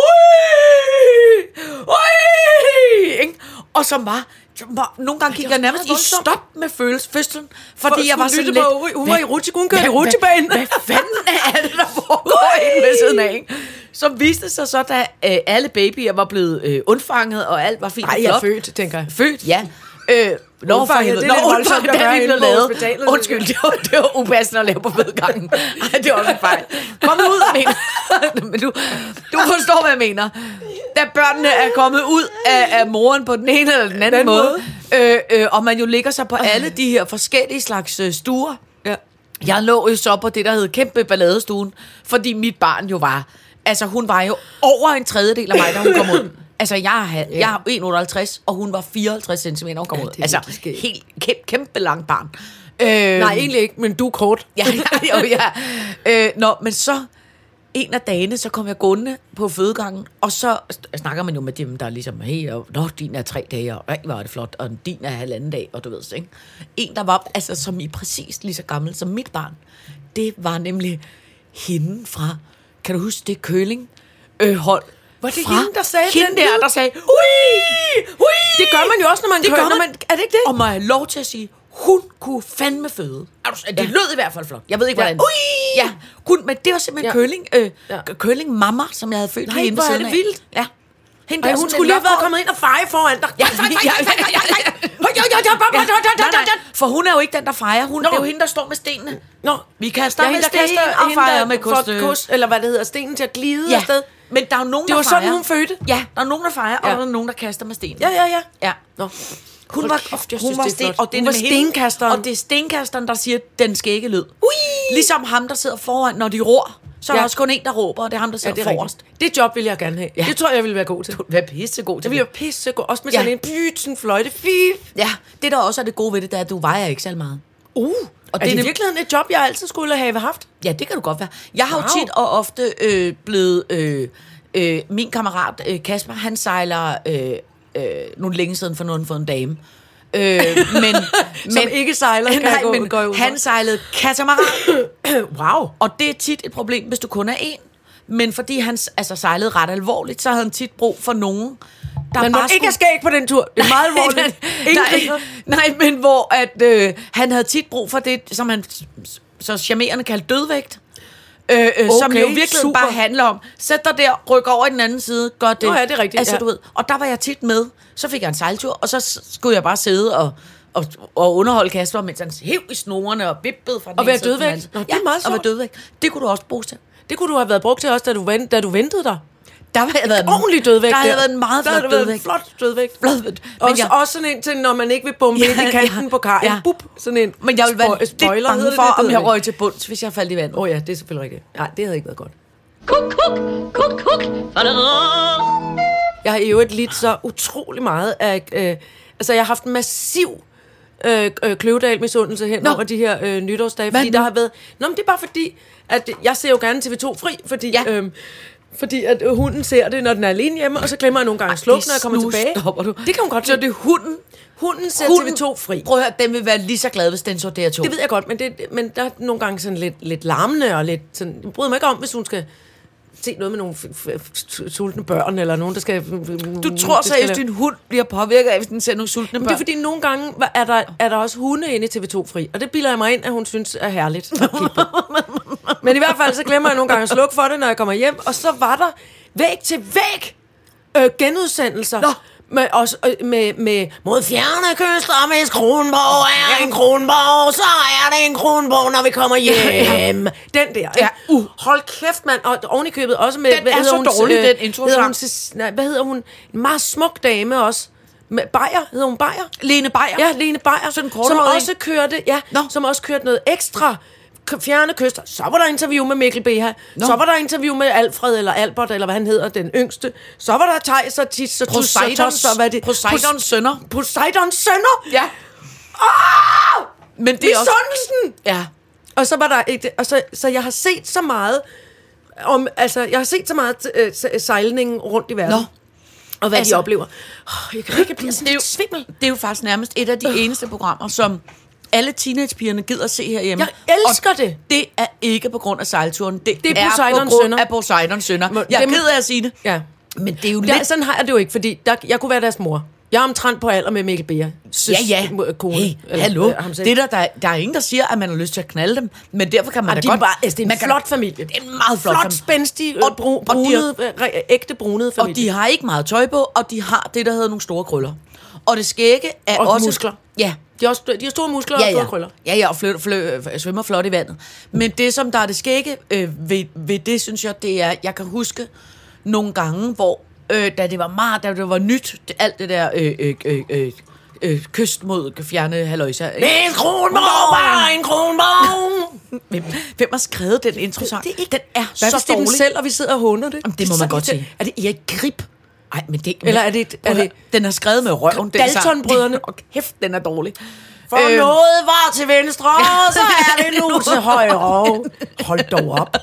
Speaker 3: Ui! Ikke? og som var, som var nogle gange gik jeg nærmest i
Speaker 4: voldsomt.
Speaker 3: stop med følelsen, fødslen, fordi jeg var sådan lidt...
Speaker 4: lidt... Hun var i
Speaker 3: hvad-
Speaker 4: rutsje, hun kørte i
Speaker 3: hvad-
Speaker 4: rutsjebanen.
Speaker 3: Hvad, hvad fanden er det, der foregår inde ved siden af? Ikke? Som viste sig så, da øh, alle babyer var blevet øh, undfanget, og alt var fint
Speaker 4: Nej,
Speaker 3: og
Speaker 4: jeg er
Speaker 3: flot.
Speaker 4: født, tænker jeg.
Speaker 3: Født, ja. Øh, Nå, for
Speaker 4: Undfanget, det
Speaker 3: helvede.
Speaker 4: er
Speaker 3: Nå,
Speaker 4: lidt voldsomt
Speaker 3: undfanget,
Speaker 4: at
Speaker 3: da
Speaker 4: gøre
Speaker 3: vi
Speaker 4: inde
Speaker 3: blev
Speaker 4: på
Speaker 3: lavet.
Speaker 4: hospitalet.
Speaker 3: Undskyld, det var, det var upassende at lave på fødegangen. Ej, det var også en fejl. Kom ud, mener. Men du, du forstår, hvad jeg mener. Da børnene er kommet ud af, af moren på den ene eller den anden
Speaker 4: Den
Speaker 3: den
Speaker 4: måde.
Speaker 3: måde, Øh, øh, og man jo ligger sig på alle de her forskellige slags øh, stuer.
Speaker 4: Ja.
Speaker 3: Jeg lå jo så på det, der hed kæmpe balladestuen, fordi mit barn jo var altså hun var jo over en tredjedel af mig, da hun kom ud. Altså, jeg er, yeah. jeg er 1,58, og hun var 54 cm, når hun kom
Speaker 4: Ja,
Speaker 3: ud.
Speaker 4: det er
Speaker 3: Altså,
Speaker 4: virkelig skægt.
Speaker 3: helt kæmpe, kæmpe lang barn. Øh,
Speaker 4: Nej, egentlig ikke, men du er kort.
Speaker 3: ja, ja, *laughs* jo, ja. Øh, nå, men så en af dagene, så kom jeg gående på fødegangen, og så snakker man jo med dem, der er ligesom, hey, og, nå, din er tre dage, og hey, hvor er det flot, og din er halvanden dag, og du ved så, ikke? En, der var, altså, som i præcis lige så gammel som mit barn, det var nemlig hende fra, kan du huske det, Køling? Øh, hold.
Speaker 4: Var det
Speaker 3: fra
Speaker 4: hende, der sagde
Speaker 3: hende
Speaker 4: den
Speaker 3: der,
Speaker 4: lyd?
Speaker 3: der sagde, hui, hui.
Speaker 4: Det gør man jo også, når man
Speaker 3: Det
Speaker 4: kører-
Speaker 3: gør
Speaker 4: når
Speaker 3: man.
Speaker 4: man- er det ikke det?
Speaker 3: Og må jeg have lov til at sige, hun kunne fandme føde. Er du, det
Speaker 4: Ja.
Speaker 3: ja. lød i hvert fald flot. Jeg ved ikke,
Speaker 4: Ja.
Speaker 3: hvordan. Ja. Ui! Ja, kun, men det var simpelthen
Speaker 4: Ja.
Speaker 3: ja. køling, øh,
Speaker 4: Ja.
Speaker 3: ja. køling mamma, som jeg havde født
Speaker 4: Nej,
Speaker 3: lige inde ved
Speaker 4: hvor er
Speaker 3: siden
Speaker 4: det vildt.
Speaker 3: Af. Ja. Hende
Speaker 4: Ej,
Speaker 3: der
Speaker 4: hun
Speaker 3: sådan
Speaker 4: skulle lige
Speaker 3: lidt
Speaker 4: have været
Speaker 3: lokhåret.
Speaker 4: kommet ind og feje foran dig.
Speaker 3: Ja, ja, ja, ja, ja, ja. Ja. Nej, nej, For hun er jo ikke den, der fejrer. Hun, det er jo hende, der står med stenene.
Speaker 4: Nå,
Speaker 3: Vi kaster
Speaker 4: ja,
Speaker 3: med
Speaker 4: hende, der
Speaker 3: sten
Speaker 4: kaster-
Speaker 3: og
Speaker 4: hende,
Speaker 3: fejrer
Speaker 4: der
Speaker 3: med
Speaker 4: får et
Speaker 3: kost.
Speaker 4: kys, eller hvad det hedder, stenen til at glide
Speaker 3: Ja,
Speaker 4: afsted.
Speaker 3: men der er jo nogen,
Speaker 4: Det
Speaker 3: der
Speaker 4: var sådan,
Speaker 3: fejrer.
Speaker 4: hun fødte.
Speaker 3: Ja, der er nogen, der fejrer,
Speaker 4: Ja.
Speaker 3: og der er nogen, der kaster med sten.
Speaker 4: Ja, ja, ja.
Speaker 3: ja.
Speaker 4: Nå.
Speaker 3: Hun
Speaker 4: Hold
Speaker 3: var,
Speaker 4: kæft, jeg
Speaker 3: hun
Speaker 4: synes,
Speaker 3: var
Speaker 4: det er
Speaker 3: sten,
Speaker 4: flot.
Speaker 3: og det er
Speaker 4: Hun var
Speaker 3: nemlig hende-
Speaker 4: stenkasteren.
Speaker 3: Og det er stenkasteren, der siger, den skal ikke lyd. Ui! Ligesom ham, der sidder foran, når de ror. Så er
Speaker 4: Ja.
Speaker 3: der også kun en, der råber, og det er ham, der
Speaker 4: Ja,
Speaker 3: sidder
Speaker 4: det er
Speaker 3: forrest.
Speaker 4: rigtigt. Det job vil jeg gerne have.
Speaker 3: Ja.
Speaker 4: Det tror jeg, jeg ville være god til.
Speaker 3: Hvad pissegod
Speaker 4: Jeg
Speaker 3: til
Speaker 4: ville være pissegod. Også med
Speaker 3: Ja.
Speaker 4: sådan en byt, sådan en fløjte. Fif.
Speaker 3: Ja, det der også er det gode ved det, det er, at du vejer ikke særlig meget.
Speaker 4: Uh, og det er
Speaker 3: Og det
Speaker 4: det
Speaker 3: er
Speaker 4: i
Speaker 3: nem-
Speaker 4: virkeligheden et job, jeg altid skulle have haft?
Speaker 3: Ja, det kan du godt være. Jeg har wow.
Speaker 4: Wow.
Speaker 3: jo tit og ofte øh, blevet... Øh, øh, min kammerat øh, Kasper, han sejler... Øh, øh, nu er det længe siden, for nu har han fået en dame.
Speaker 4: *laughs*
Speaker 3: Øh, men,
Speaker 4: Som ikke sejler, kan jeg
Speaker 3: Nej,
Speaker 4: gå-
Speaker 3: men
Speaker 4: går jeg ud fra.
Speaker 3: han sejlede katamaran.
Speaker 4: *coughs* Wow.
Speaker 3: Og det er tit et problem, hvis du kun er en. Men fordi han s- altså, sejlede ret alvorligt, så havde han tit brug for nogen, der
Speaker 4: Man må
Speaker 3: bare
Speaker 4: ikke have skæg på den tur. Det er meget alvorligt. Ingen fingre.
Speaker 3: nej, nej, men hvor at, øh, han havde tit brug for det, som han s- s- så charmerende kaldte dødvægt. Øh, øh, okay, som
Speaker 4: Okay,
Speaker 3: jo virkelig
Speaker 4: super.
Speaker 3: super. bare handler om, sæt dig der, ryk over i den anden side, gør det.
Speaker 4: Nå ja, det er rigtigt,
Speaker 3: Altså,
Speaker 4: ja.
Speaker 3: du ved, og der var jeg tit med. Så fik jeg en sejltur, og så s- skulle jeg bare sidde og, og, og underholde Kasper, mens han hev i snorene og vippede fra den
Speaker 4: Og
Speaker 3: ene
Speaker 4: være
Speaker 3: side til den
Speaker 4: dødvægt?
Speaker 3: anden.
Speaker 4: Nå, det er
Speaker 3: ja,
Speaker 4: meget
Speaker 3: og være
Speaker 4: sjovt.
Speaker 3: dødvægt. Det kunne du også bruge til.
Speaker 4: Det kunne du have været brugt til også, da du, ven, da du ventede dig.
Speaker 3: Der var jeg været en-
Speaker 4: Ordentlig dødvægt.
Speaker 3: Der havde jeg været en meget
Speaker 4: der
Speaker 3: flot
Speaker 4: havde du været en
Speaker 3: dødvægt.
Speaker 4: flot dødvægt.
Speaker 3: Flot dødvægt. Men
Speaker 4: Også,
Speaker 3: jeg-
Speaker 4: også sådan en til, når man ikke vil bombe ja,
Speaker 3: Ja,
Speaker 4: ind i kanten
Speaker 3: ja,
Speaker 4: på kajen. Ja.
Speaker 3: ja.
Speaker 4: Bup, sådan en
Speaker 3: Men jeg ville
Speaker 4: spo-
Speaker 3: være lidt
Speaker 4: spoiler, hedder
Speaker 3: bange
Speaker 4: det,
Speaker 3: for,
Speaker 4: det
Speaker 3: om
Speaker 4: ved
Speaker 3: jeg
Speaker 4: ikke.
Speaker 3: røg til bunds, hvis jeg faldt i vandet.
Speaker 4: Åh oh, ja, det er selvfølgelig rigtigt. Nej, det havde ikke været godt.
Speaker 2: Kuk, kuk, kuk, kuk.
Speaker 4: Jeg har i øvrigt lidt så utrolig meget af... Øh, altså, jeg har haft en massiv øh, øh, kløvedal misundelse hen
Speaker 3: Nå.
Speaker 4: over de her øh, nytårsdage,
Speaker 3: Hvad
Speaker 4: fordi
Speaker 3: nu?
Speaker 4: der har været... Nå, men det er bare fordi, at jeg ser jo gerne TV2 fri, fordi...
Speaker 3: Ja.
Speaker 4: øhm, fordi at øh, hunden ser det, når den er alene hjemme, og så glemmer jeg nogle gange at slukke, når jeg kommer tilbage.
Speaker 3: Stopper du.
Speaker 4: Det kan hun godt
Speaker 3: Så
Speaker 4: lide.
Speaker 3: det er hunden.
Speaker 4: Hunden ser
Speaker 3: Hunden-
Speaker 4: TV2 fri.
Speaker 3: Prøv at høre, den vil være lige så glad, hvis den så DR2.
Speaker 4: Det ved jeg godt, men, det, men der er nogle gange sådan lidt, lidt larmende og lidt sådan... Jeg bryder mig ikke om, hvis hun skal se noget med nogle f- f- f- sultne børn, eller nogen, der skal...
Speaker 3: Du tror
Speaker 4: det skal
Speaker 3: seriøst,
Speaker 4: lave-
Speaker 3: at din hund bliver påvirket af, hvis den ser nogle sultne
Speaker 4: Men det er
Speaker 3: børn?
Speaker 4: fordi, nogle gange hva- er der, er der også hunde inde i TV2 Fri, og det bilder jeg mig ind, at hun synes er herligt. at kigge
Speaker 3: *laughs*
Speaker 4: på. Men i hvert fald, så glemmer jeg nogle gange at slukke for det, når jeg kommer hjem, og så var der væg til væg øh, genudsendelser.
Speaker 3: Nå.
Speaker 4: Med, også, øh, med, med mod fjerne kyster, hvis Kronborg er en Kronborg, så er det en Kronborg, når vi kommer hjem. Den der. ikke?
Speaker 3: Ja.
Speaker 4: Uh, hold kæft, mand. Og oven i købet også med...
Speaker 3: Den er
Speaker 4: hedder
Speaker 3: så dårlig,
Speaker 4: øh,
Speaker 3: den intro
Speaker 4: hedder hun,
Speaker 3: sang.
Speaker 4: Cec- nej, Hvad hedder hun? En meget smuk dame også. Med Bayer, hedder hun Bayer?
Speaker 3: Lene Beyer.
Speaker 4: Ja, Lene Beyer,
Speaker 3: Sådan
Speaker 4: som
Speaker 3: korthåret
Speaker 4: også kørte, ja,
Speaker 3: Nå.
Speaker 4: som også kørte noget ekstra k- fjerne kyster. Så var der interview med Mikkel Beha.
Speaker 3: Nå.
Speaker 4: Så var der interview med Alfred eller Albert, eller hvad han hedder, den yngste. Så var der Thijs og Tis og Tus og
Speaker 3: Poseidons,
Speaker 4: Tos, og hvad det...
Speaker 3: Poseidons sønner.
Speaker 4: Pos- Poseidons sønner!
Speaker 3: Ja. Ah! Men det er også...
Speaker 4: Misundelsen!
Speaker 3: Ja.
Speaker 4: Og så var der ikke, og så, så jeg har set så meget om, altså, jeg har set så meget øh, se- sejlningen rundt i verden.
Speaker 3: Nå.
Speaker 4: Og hvad altså,
Speaker 3: Altså-
Speaker 4: de oplever. Oh, jeg kan ikke blive sådan
Speaker 3: Det er, jo,
Speaker 4: lidt svimmel. Øh.
Speaker 3: det er jo faktisk nærmest et af de eneste programmer, som alle teenagepigerne gider at se herhjemme.
Speaker 4: Jeg elsker
Speaker 3: og
Speaker 4: det.
Speaker 3: Det er ikke på grund af sejlturen. Det,
Speaker 4: Det er
Speaker 3: er
Speaker 4: Poseidons
Speaker 3: på grund
Speaker 4: sønner.
Speaker 3: af Poseidons sønner.
Speaker 4: Hvor-
Speaker 3: Jeg er
Speaker 4: dem-
Speaker 3: ked af at sige det.
Speaker 4: Ja.
Speaker 3: Men det er jo
Speaker 4: Ja,
Speaker 3: lidt...
Speaker 4: sådan har jeg det jo ikke, fordi der, jeg kunne være deres mor. Jeg er omtrent på alder med Mikkel Beer.
Speaker 3: Ja, ja.
Speaker 4: Kone,
Speaker 3: hey,
Speaker 4: eller,
Speaker 3: hallo.
Speaker 4: øh, ham selv.
Speaker 3: det er der, der, der er ingen, der siger, at man har lyst til at knalde dem. Men derfor kan man
Speaker 4: Jamen,
Speaker 3: da
Speaker 4: de er
Speaker 3: godt...
Speaker 4: bare- altså, det er en
Speaker 3: man kan-
Speaker 4: flot familie.
Speaker 3: Det er en meget flot,
Speaker 4: flot,
Speaker 3: familie.
Speaker 4: spændstig, øh,
Speaker 3: Og-
Speaker 4: og, bru,
Speaker 3: og de
Speaker 4: brunede, og de, øh, ægte brunede
Speaker 3: Og
Speaker 4: familie.
Speaker 3: de har ikke meget tøj på, og de har det, der hedder nogle store krøller. Og det skægge er
Speaker 4: Og
Speaker 3: også...
Speaker 4: muskler.
Speaker 3: Ja.
Speaker 4: de, har, også, de har store muskler og
Speaker 3: Ja,
Speaker 4: store
Speaker 3: ja.
Speaker 4: krøller.
Speaker 3: ja, ja, og flø, flø, øh, svømmer flot i vandet. Men det, som der er det skægge øh, ved, ved det, synes jeg, det er, jeg kan huske nogle gange, hvor øh, da det var meget, da det var nyt, det, alt det der øh, øh, øh, øh, øh, kyst mod fjerne haløjser. *laughs*
Speaker 4: En kronborg, bare en kronborg!
Speaker 3: Hvem, Hvem har skrevet den introsang?
Speaker 4: det er ikke-
Speaker 3: Den er
Speaker 4: Hvad
Speaker 3: så
Speaker 4: hvis det er dem
Speaker 3: dårlig.
Speaker 4: selv, og vi sidder og hunder det?
Speaker 3: Jamen, det må man
Speaker 4: så
Speaker 3: godt
Speaker 4: irriterende.
Speaker 3: sige.
Speaker 4: Er det Erik Grip?
Speaker 3: Ej, men det,
Speaker 4: Eller er det et-
Speaker 3: Prøv
Speaker 4: er
Speaker 3: at
Speaker 4: det-
Speaker 3: høre, den er skrevet med røven, den sang.
Speaker 4: Dalton-brødrene.
Speaker 3: Og kæft, den er dårlig.
Speaker 4: For øhm. noget var til venstre, så er det *laughs* nu til højre. Hold dog op.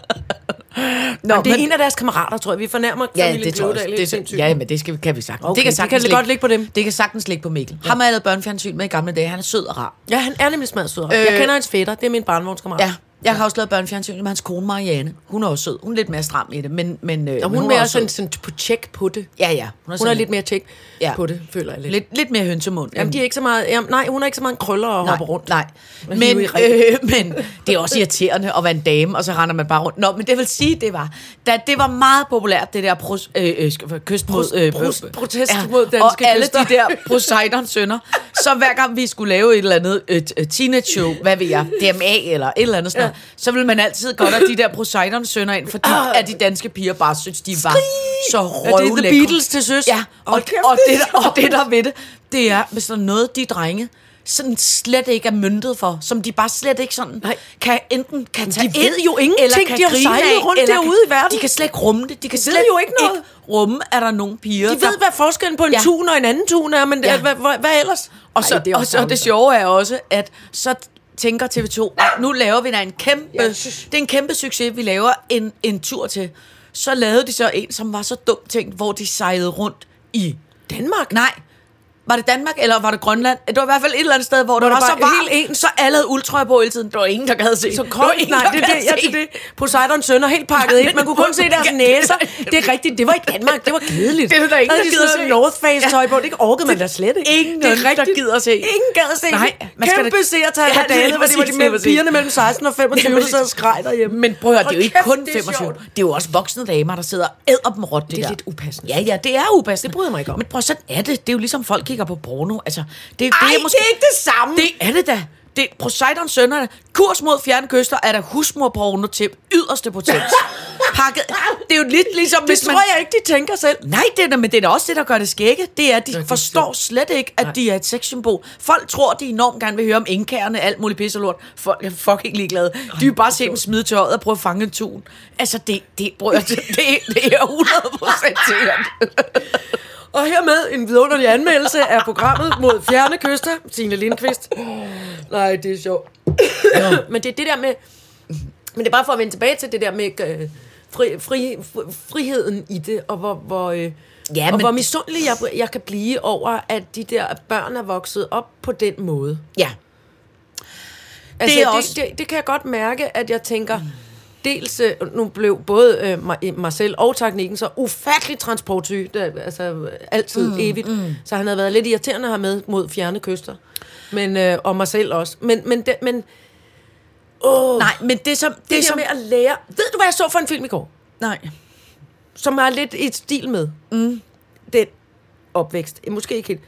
Speaker 4: Nå, det er
Speaker 3: men-
Speaker 4: en af deres kammerater, tror jeg. Vi fornærmer
Speaker 3: Ja,
Speaker 4: familien
Speaker 3: det tror jeg
Speaker 4: Kløvedal
Speaker 3: også.
Speaker 4: helt
Speaker 3: Det, er så-
Speaker 4: sindssygt.
Speaker 3: ja, men det skal, kan vi sagtens.
Speaker 4: Okay, det kan godt ligge på dem.
Speaker 3: Det kan sagtens ligge på Mikkel. Ja. Ham har jeg lavet børnefjernsyn med i gamle dage. Han er sød og rar.
Speaker 4: ja, han er nemlig smadsød. Øh. Jeg kender hans fætter. Det er min barnvognskammerat.
Speaker 3: Ja. Jeg har også lavet børnefjernsyn med hans kone Marianne. Hun er også sød. Hun er lidt mere stram i det, men, men, øh,
Speaker 4: Og hun,
Speaker 3: men
Speaker 4: hun er
Speaker 3: også
Speaker 4: også sådan,
Speaker 3: sød.
Speaker 4: sådan på tjek på det.
Speaker 3: Ja, ja. Hun er,
Speaker 4: Hun er
Speaker 3: sådan
Speaker 4: lidt mere tjek
Speaker 3: Ja.
Speaker 4: på det, føler jeg lidt.
Speaker 3: lidt, lidt mere hønsemund.
Speaker 4: Jamen, de er ikke så meget, jamen, nej, hun er ikke så meget en krøller og
Speaker 3: nej,
Speaker 4: hopper rundt.
Speaker 3: Nej,
Speaker 4: Og
Speaker 3: men,
Speaker 4: hiver i
Speaker 3: øh, *laughs* men det er også irriterende at være en dame, og så render man bare rundt. Nå, men det vil sige, det var, da det var meget populært, det der pros, øh, øh, sk- kyst mod... Øh,
Speaker 4: Prus-
Speaker 3: øh,
Speaker 4: protest mod danske
Speaker 3: Og alle
Speaker 4: kyster.
Speaker 3: de der Poseidon sønner. Så hver gang vi skulle lave et eller andet øh, t- øh, teenage show, hvad ved jeg, DMA eller et eller andet sådan ja. noget, så ville man altid godt have de der Poseidon sønner ind, fordi at de danske piger bare synes, de var så
Speaker 4: Er Ah. det
Speaker 3: røvlækre.
Speaker 4: The Beatles til søs?
Speaker 3: Ja, og,
Speaker 4: Hold
Speaker 3: og,
Speaker 4: kæft,
Speaker 3: og,
Speaker 4: det
Speaker 3: det,
Speaker 4: er
Speaker 3: der- og det der er ved det, det er, hvis der er noget, de drenge sådan slet ikke er myndet for, som de bare slet ikke sådan
Speaker 4: Nej.
Speaker 3: kan enten kan tage
Speaker 4: ved
Speaker 3: ind,
Speaker 4: jo ingenting.
Speaker 3: eller kan
Speaker 4: De har
Speaker 3: grine
Speaker 4: sejlet
Speaker 3: af,
Speaker 4: rundt
Speaker 3: eller
Speaker 4: derude
Speaker 3: kan-
Speaker 4: i verden.
Speaker 3: De kan slet ikke rumme det. De kan slet
Speaker 4: jo ikke noget.
Speaker 3: rumme, at der er nogle piger,
Speaker 4: De ved,
Speaker 3: der
Speaker 4: hvad forskellen på en ja.
Speaker 3: Ja.
Speaker 4: tun og en anden tun er, men ja.
Speaker 3: Ja.
Speaker 4: hvad, hvad, hvad ellers?
Speaker 3: Og så,
Speaker 4: Ej,
Speaker 3: Ej, det, og så det
Speaker 4: ærgerligt.
Speaker 3: sjove er også, at så tænker TV2, "Ej, nu laver vi da en kæmpe,
Speaker 4: Ja.
Speaker 3: det er en kæmpe succes, vi laver en, en tur til. Så lavede de så en, som var så dumt tænkt, hvor de sejlede rundt i...
Speaker 4: Danmark?
Speaker 3: Nej, var det Danmark, eller var det Grønland? Det var i hvert fald et eller andet sted, hvor, der
Speaker 4: det
Speaker 3: var,
Speaker 4: var
Speaker 3: så varmt,
Speaker 4: helt
Speaker 3: helt en, så alle havde uldtrøjer på hele tiden. Der var ingen, der gad se.
Speaker 4: Så
Speaker 3: Der var
Speaker 4: koldt,
Speaker 3: ingen,
Speaker 4: nej,
Speaker 3: der
Speaker 4: det
Speaker 3: gad
Speaker 4: er det, ja,
Speaker 3: se.
Speaker 4: det, er det. Poseidons sønner helt pakket ind. Man kunne kun se deres næser. Det er rigtigt, det var ikke Danmark, det var kedeligt.
Speaker 3: Det er der ingen,
Speaker 4: Havde
Speaker 3: der
Speaker 4: de
Speaker 3: gider
Speaker 4: sådan
Speaker 3: se.
Speaker 4: North Face tøj på, det orkede man da slet ikke.
Speaker 3: Ingen,
Speaker 4: det er
Speaker 3: der gider se.
Speaker 4: Ingen gad se.
Speaker 3: Nej,
Speaker 4: man
Speaker 3: man skal
Speaker 4: skal
Speaker 3: da-
Speaker 4: Kæmpe seertal
Speaker 3: Ja,
Speaker 4: på
Speaker 3: det er
Speaker 4: Dale, hvor det var de
Speaker 3: præcis,
Speaker 4: mellem,
Speaker 3: præcis.
Speaker 4: pigerne mellem 16 og 25, der sad og skreg derhjemme.
Speaker 3: Men prøv at høre, det er jo ikke
Speaker 4: Hold
Speaker 3: kun
Speaker 4: kæft, det er
Speaker 3: 25.
Speaker 4: sjovt.
Speaker 3: Det er jo også voksne damer, der sidder og æder dem rundt. Det,
Speaker 4: Det er
Speaker 3: der.
Speaker 4: lidt upassende.
Speaker 3: Ja, ja, det er upassende.
Speaker 4: Det bryder jeg mig ikke om.
Speaker 3: Men prøv, sådan er det. Det er jo ligesom, folk kigger på porno. Altså, det,
Speaker 4: Ej,
Speaker 3: det, er måske,
Speaker 4: det er ikke det samme.
Speaker 3: Det er det da. Det er Poseidons sønnerne. Kurs mod fjernkyster er der husmorporno til yderste potens.
Speaker 4: *laughs*
Speaker 3: Pakket. Det er jo lidt ligesom,
Speaker 4: Det
Speaker 3: hvis man...
Speaker 4: tror jeg ikke, de tænker selv.
Speaker 3: Nej, det er, da- men det er da også det, der gør det skægge. Det er, at de
Speaker 4: det er
Speaker 3: forstår slet ikke, at
Speaker 4: Nej.
Speaker 3: de er et sexsymbol. Folk tror, de enormt gerne vil høre om indkærne, alt muligt pis og lort. Folk er fucking ligeglade. De vil bare se dem smide tøjet og prøve at fange en tun. Altså, det, det, prøver, det, det, det er 100 procent sikkert.
Speaker 4: Og hermed en vidunderlig anmeldelse af programmet mod fjerne kyster, Signe Lindqvist. Nej, det er
Speaker 3: *coughs*
Speaker 4: sjovt. Men det er det der med... Men det er bare for at vende tilbage til det der med øh, fri, fri, fri, friheden i det, og hvor, hvor, øh, ja,
Speaker 3: Ja,
Speaker 4: og
Speaker 3: men-
Speaker 4: hvor misundelig jeg, jeg kan blive over, at de der børn er vokset op på den måde.
Speaker 3: Ja.
Speaker 4: Altså,
Speaker 3: Det
Speaker 4: det,
Speaker 3: er
Speaker 4: også...
Speaker 3: også-
Speaker 4: det, det, det kan jeg godt mærke, at jeg tænker, dels, øh, nu blev både øh, mig, mig selv og teknikken så ufattelig transportsyg, det, er altså øh, altid mm, evigt, mm. så han havde været lidt irriterende her med mod fjerne kyster, men, øh, og mig selv også. Men, men, det, men det,
Speaker 3: Nej, men det som... Det,
Speaker 4: det der
Speaker 3: som
Speaker 4: som... med at lære... Ved du, hvad jeg så for en film i går?
Speaker 3: nej.
Speaker 4: Som er lidt i stil med mm. den opvækst. Eh, Måske ikke helt.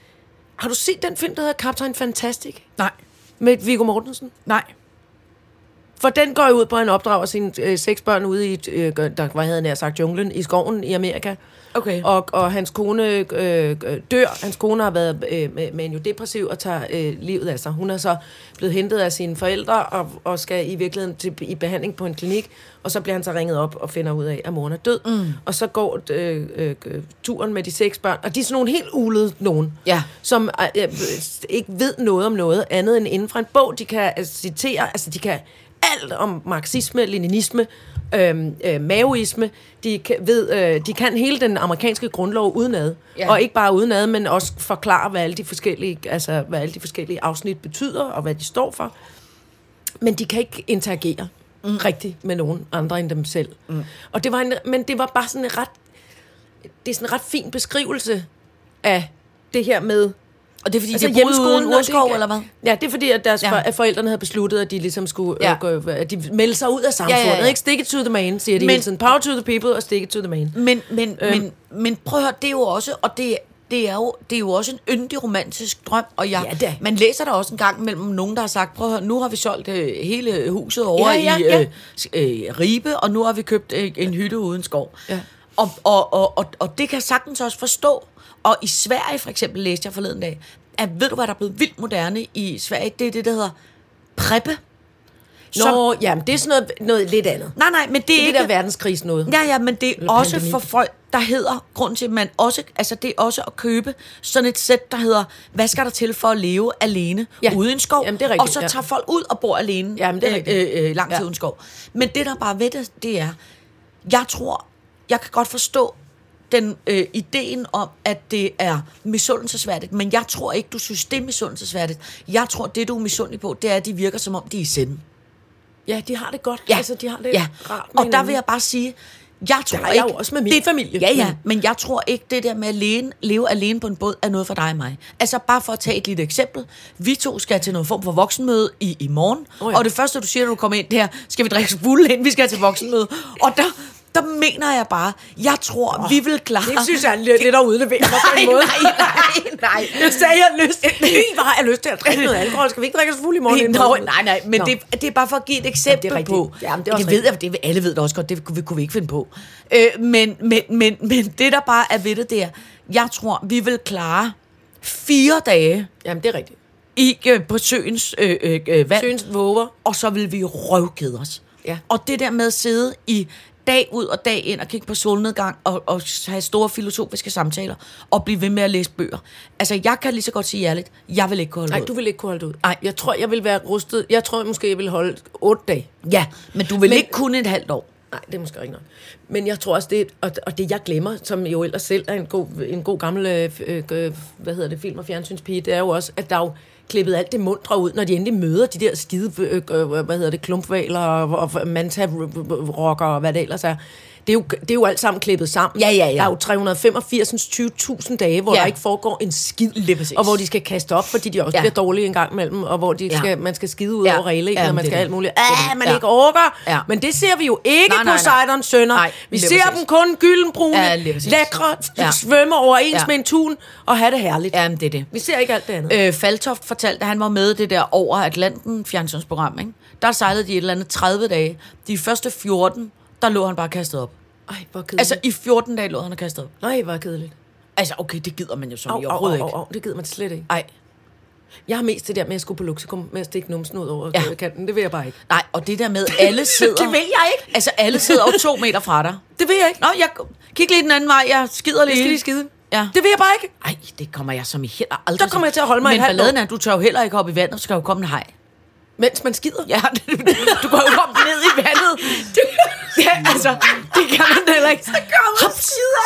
Speaker 4: Har du set den film, der hedder Captain Fantastic?
Speaker 3: Nej.
Speaker 4: Med Viggo Mortensen?
Speaker 3: Nej.
Speaker 4: For den går jo ud på, at han opdrager sine øh, seks børn ude i, øh, der, hvad havde han nær sagt, junglen i skoven i Amerika.
Speaker 3: Okay.
Speaker 4: Og, og hans kone øh, øh, dør. Hans kone har været øh, maniodepressiv og tager øh, livet af sig. Hun er så blevet hentet af sine forældre og, og skal i virkeligheden til, i behandling på en klinik. Og så bliver han så ringet op og finder ud af, at moren er død. Mm. Og så går øh, øh, turen med de seks børn. Og de er sådan nogle helt ulede nogen
Speaker 3: Ja.
Speaker 4: som øh, øh, ikke ved noget om noget andet end inden for en bog. De kan altså, citere, altså de kan alt om marxisme, leninisme, øh, øh, maoisme. De kan, ved, øh, de kan hele den amerikanske grundlov udenad. Ja.
Speaker 3: Ja.
Speaker 4: Og ikke bare udenad, men også forklare, hvad alle de forskellige, altså, hvad alle de forskellige afsnit betyder, og hvad de står for. Men de kan ikke interagere mm. rigtigt med nogen andre end dem selv. Mm. Og det var en, men det var bare sådan en ret, det er sådan en ret fin beskrivelse af det her med
Speaker 3: Og det er fordi,
Speaker 4: Altså
Speaker 3: altså, de har boet
Speaker 4: hjemmeskolen,
Speaker 3: uden
Speaker 4: når det
Speaker 3: urskov,
Speaker 4: ikke-
Speaker 3: eller hvad?
Speaker 4: Ja, det er fordi, at, deres ja.
Speaker 3: Ja.
Speaker 4: for, at forældrene havde besluttet, at de ligesom skulle ja.
Speaker 3: Ja.
Speaker 4: øh, gå, at de meldte sig ud af samfundet. Ja, ja, ja. Ikke stick it to the man, siger de Men,
Speaker 3: Men-
Speaker 4: hele tiden. Power to the people og stick it to the man.
Speaker 3: Men, men, øhm. men, men prøv at høre, det er jo også, og det, det, er jo, det er jo også en yndig romantisk drøm, og jeg,
Speaker 4: Ja, det er.
Speaker 3: man læser der også en gang mellem nogen, der har sagt, prøv at høre, nu har vi solgt øh, hele huset over
Speaker 4: Ja, ja,
Speaker 3: i
Speaker 4: ja.
Speaker 3: Øh, s- øh, Ribe, og nu har vi købt øh, en hytte uden skov.
Speaker 4: Ja.
Speaker 3: Og, og, og, og, og det kan jeg sagtens også forstå. Og i Sverige for eksempel læste jeg forleden dag, at ved du hvad der er blevet vildt moderne i Sverige? Det er det, der hedder preppe Som,
Speaker 4: Nå, jamen, det er sådan noget, noget lidt andet.
Speaker 3: nej, nej, men det,
Speaker 4: Det
Speaker 3: er
Speaker 4: er det
Speaker 3: ikke...
Speaker 4: der verdenskrigs noget.
Speaker 3: Ja, ja, men det er
Speaker 4: Eller
Speaker 3: også
Speaker 4: pandemi.
Speaker 3: for folk, der hedder, grund til, at man også, altså det er også at købe sådan et sæt, der hedder, hvad skal der til for at leve alene ja.
Speaker 4: Ja.
Speaker 3: ude i en skov?
Speaker 4: Jamen, det er
Speaker 3: og
Speaker 4: rigtigt,
Speaker 3: så
Speaker 4: ja.
Speaker 3: tager folk ud og bor alene
Speaker 4: Jamen, det er rigtigt.
Speaker 3: øh, øh, lang tid
Speaker 4: Ja.
Speaker 3: ja. uden skov. Men det, der bare er ved det, det er, jeg tror, jeg kan godt forstå den øh, ideen om, at det er misundelsesværdigt, men jeg tror ikke, du synes, det er misundelsesværdigt. Jeg tror, det, du er misundelig på, det er, at de virker, som om de er i sende.
Speaker 4: Ja, de har det godt.
Speaker 3: Ja.
Speaker 4: Altså, de har det
Speaker 3: ja.
Speaker 4: rart med
Speaker 3: Og der
Speaker 4: hinanden.
Speaker 3: vil jeg bare sige, jeg tror
Speaker 4: har jeg
Speaker 3: ikke...
Speaker 4: jo også med min
Speaker 3: det,
Speaker 4: familie, Mm.
Speaker 3: Ja, ja,
Speaker 4: men-
Speaker 3: men jeg tror ikke, det der med at lene, leve alene på en båd, er noget for dig og mig. Altså, bare for at tage et lille eksempel. Vi to skal til noget form for voksenmøde i, i morgen. Oh,
Speaker 4: Åh,
Speaker 3: ja.
Speaker 4: ja.
Speaker 3: Og det første, du siger, når du kommer ind der, skal vi drikke os fulde ind, vi skal til voksenmøde. Og der, der mener jeg bare, jeg tror, oh, vi vil klare...
Speaker 4: Det synes jeg er lidt, lidt at udlevere *laughs* mig på en
Speaker 3: Nej,
Speaker 4: måde.
Speaker 3: nej, nej, nej.
Speaker 4: Jeg sagde, jeg har *laughs* lyst, Fy, hvor har jeg lyst til at drikke noget alkohol. Skal vi ikke drikke os fuld i morgen?
Speaker 3: Nå, nej, nej, men det, det er bare for at give et eksempel
Speaker 4: det er rigtigt.
Speaker 3: på.
Speaker 4: Jamen, det er også
Speaker 3: det ved jeg, det, alle ved det også godt, det kunne, vi- kunne vi ikke finde på. Øh, men, men, men, men det, der bare er ved det, det er, jeg tror, vi vil klare fire dage
Speaker 4: Jamen, det er rigtigt.
Speaker 3: i, øh, på søens øh, øh, øh, vand,
Speaker 4: Søens våger.
Speaker 3: og så vil vi røvkede os.
Speaker 4: Ja.
Speaker 3: Og det der med at sidde i dag ud og dag ind og kigge på solnedgang og, og have store filosofiske samtaler og blive ved med at læse bøger. Altså, jeg kan lige så godt sige ærligt, jeg vil ikke kunne holde
Speaker 4: Nej,
Speaker 3: ud.
Speaker 4: du vil ikke kunne holde det ud.
Speaker 3: Nej.
Speaker 4: jeg tror, jeg vil være rustet. Jeg tror måske, jeg vil holde otte dage.
Speaker 3: Ja, men du vil men,
Speaker 4: Men-
Speaker 3: ikke kun et halvt år.
Speaker 4: Nej, det er måske ikke nok. Men jeg tror også, det, og, og det jeg glemmer, som jo ellers selv er en god, en god gammel, øh, øh, øh, hvad hedder det, film- og fjernsynspige, det er jo også, at der er jo klippet alt det mundre ud, når de endelig møder de der skide, øh, øh, hvad hedder det, klumpvaler og, og manta-rocker og hvad det ellers er. Det er, jo, det er jo alt sammen klippet sammen.
Speaker 3: Ja, ja, ja.
Speaker 4: Der er jo 385, 20.000 dage, hvor
Speaker 3: Ja.
Speaker 4: ja. der ikke foregår en skid.
Speaker 3: Lige præcis.
Speaker 4: Og hvor de skal kaste op, fordi de også
Speaker 3: Ja.
Speaker 4: ja. bliver dårlige en gang imellem, og hvor de
Speaker 3: Ja.
Speaker 4: ja. skal, man skal skide ud
Speaker 3: Ja.
Speaker 4: ja. over reglingen,
Speaker 3: Jamen,
Speaker 4: og man
Speaker 3: det er
Speaker 4: skal
Speaker 3: det.
Speaker 4: alt muligt.
Speaker 3: Det er
Speaker 4: Ah,
Speaker 3: det.
Speaker 4: man
Speaker 3: Ja.
Speaker 4: ja. ikke orker.
Speaker 3: Ja.
Speaker 4: Men det ser vi jo ikke
Speaker 3: Nej,
Speaker 4: nej,
Speaker 3: nej, nej.
Speaker 4: på Poseidons sønner.
Speaker 3: Nej,
Speaker 4: vi
Speaker 3: lige
Speaker 4: ser
Speaker 3: præcis.
Speaker 4: dem kun gyldenbrune,
Speaker 3: Ja,
Speaker 4: ja,
Speaker 3: lige præcis.
Speaker 4: lækre,
Speaker 3: Ja.
Speaker 4: ja. svømme overens
Speaker 3: Ja.
Speaker 4: ja. med en tun og have det herligt. Ja.
Speaker 3: Jamen, det er det.
Speaker 4: Vi ser ikke alt det andet. Øh.
Speaker 3: Øh, Faltoft fortalte, at han var med i det der over Atlanten fjernsynsprogram. Ikke? Der sejlede de et eller andet 30 dage. De første 14, der lå han bare kastet op.
Speaker 4: Ej, hvor kedeligt.
Speaker 3: Altså, i 14 dage lå han og kastet op.
Speaker 4: nej, hvor kedeligt.
Speaker 3: Altså, okay, det gider man jo som
Speaker 4: Au,
Speaker 3: i
Speaker 4: au, au,
Speaker 3: overhovedet
Speaker 4: au,
Speaker 3: ikke.
Speaker 4: au, det gider man slet ikke.
Speaker 3: Nej,
Speaker 4: Jeg har mest det der med at skulle på luksikum, med at stikke numsen ud over
Speaker 3: Ja.
Speaker 4: ja. kanten. Det vil jeg bare ikke.
Speaker 3: nej, og det der med,
Speaker 4: *laughs*
Speaker 3: alle sidder...
Speaker 4: Det vil jeg ikke.
Speaker 3: Altså, alle sidder jo to meter fra dig.
Speaker 4: Det vil jeg ikke.
Speaker 3: Nå, jeg kig lige den anden vej, jeg skider lige.
Speaker 4: Jeg skal lige skide.
Speaker 3: Ja.
Speaker 4: Det vil jeg bare ikke.
Speaker 3: Ej, det kommer jeg som i heller aldrig.
Speaker 4: Der kommer jeg til at holde mig
Speaker 3: Men
Speaker 4: et halvt år.
Speaker 3: balladen er, at du tør jo heller ikke op i vandet, så skal jo komme en hej.
Speaker 4: Mens man skider.
Speaker 3: Ja, *laughs* du går jo kom ned i vandet. Ja, altså, det kan man heller ikke. Så kommer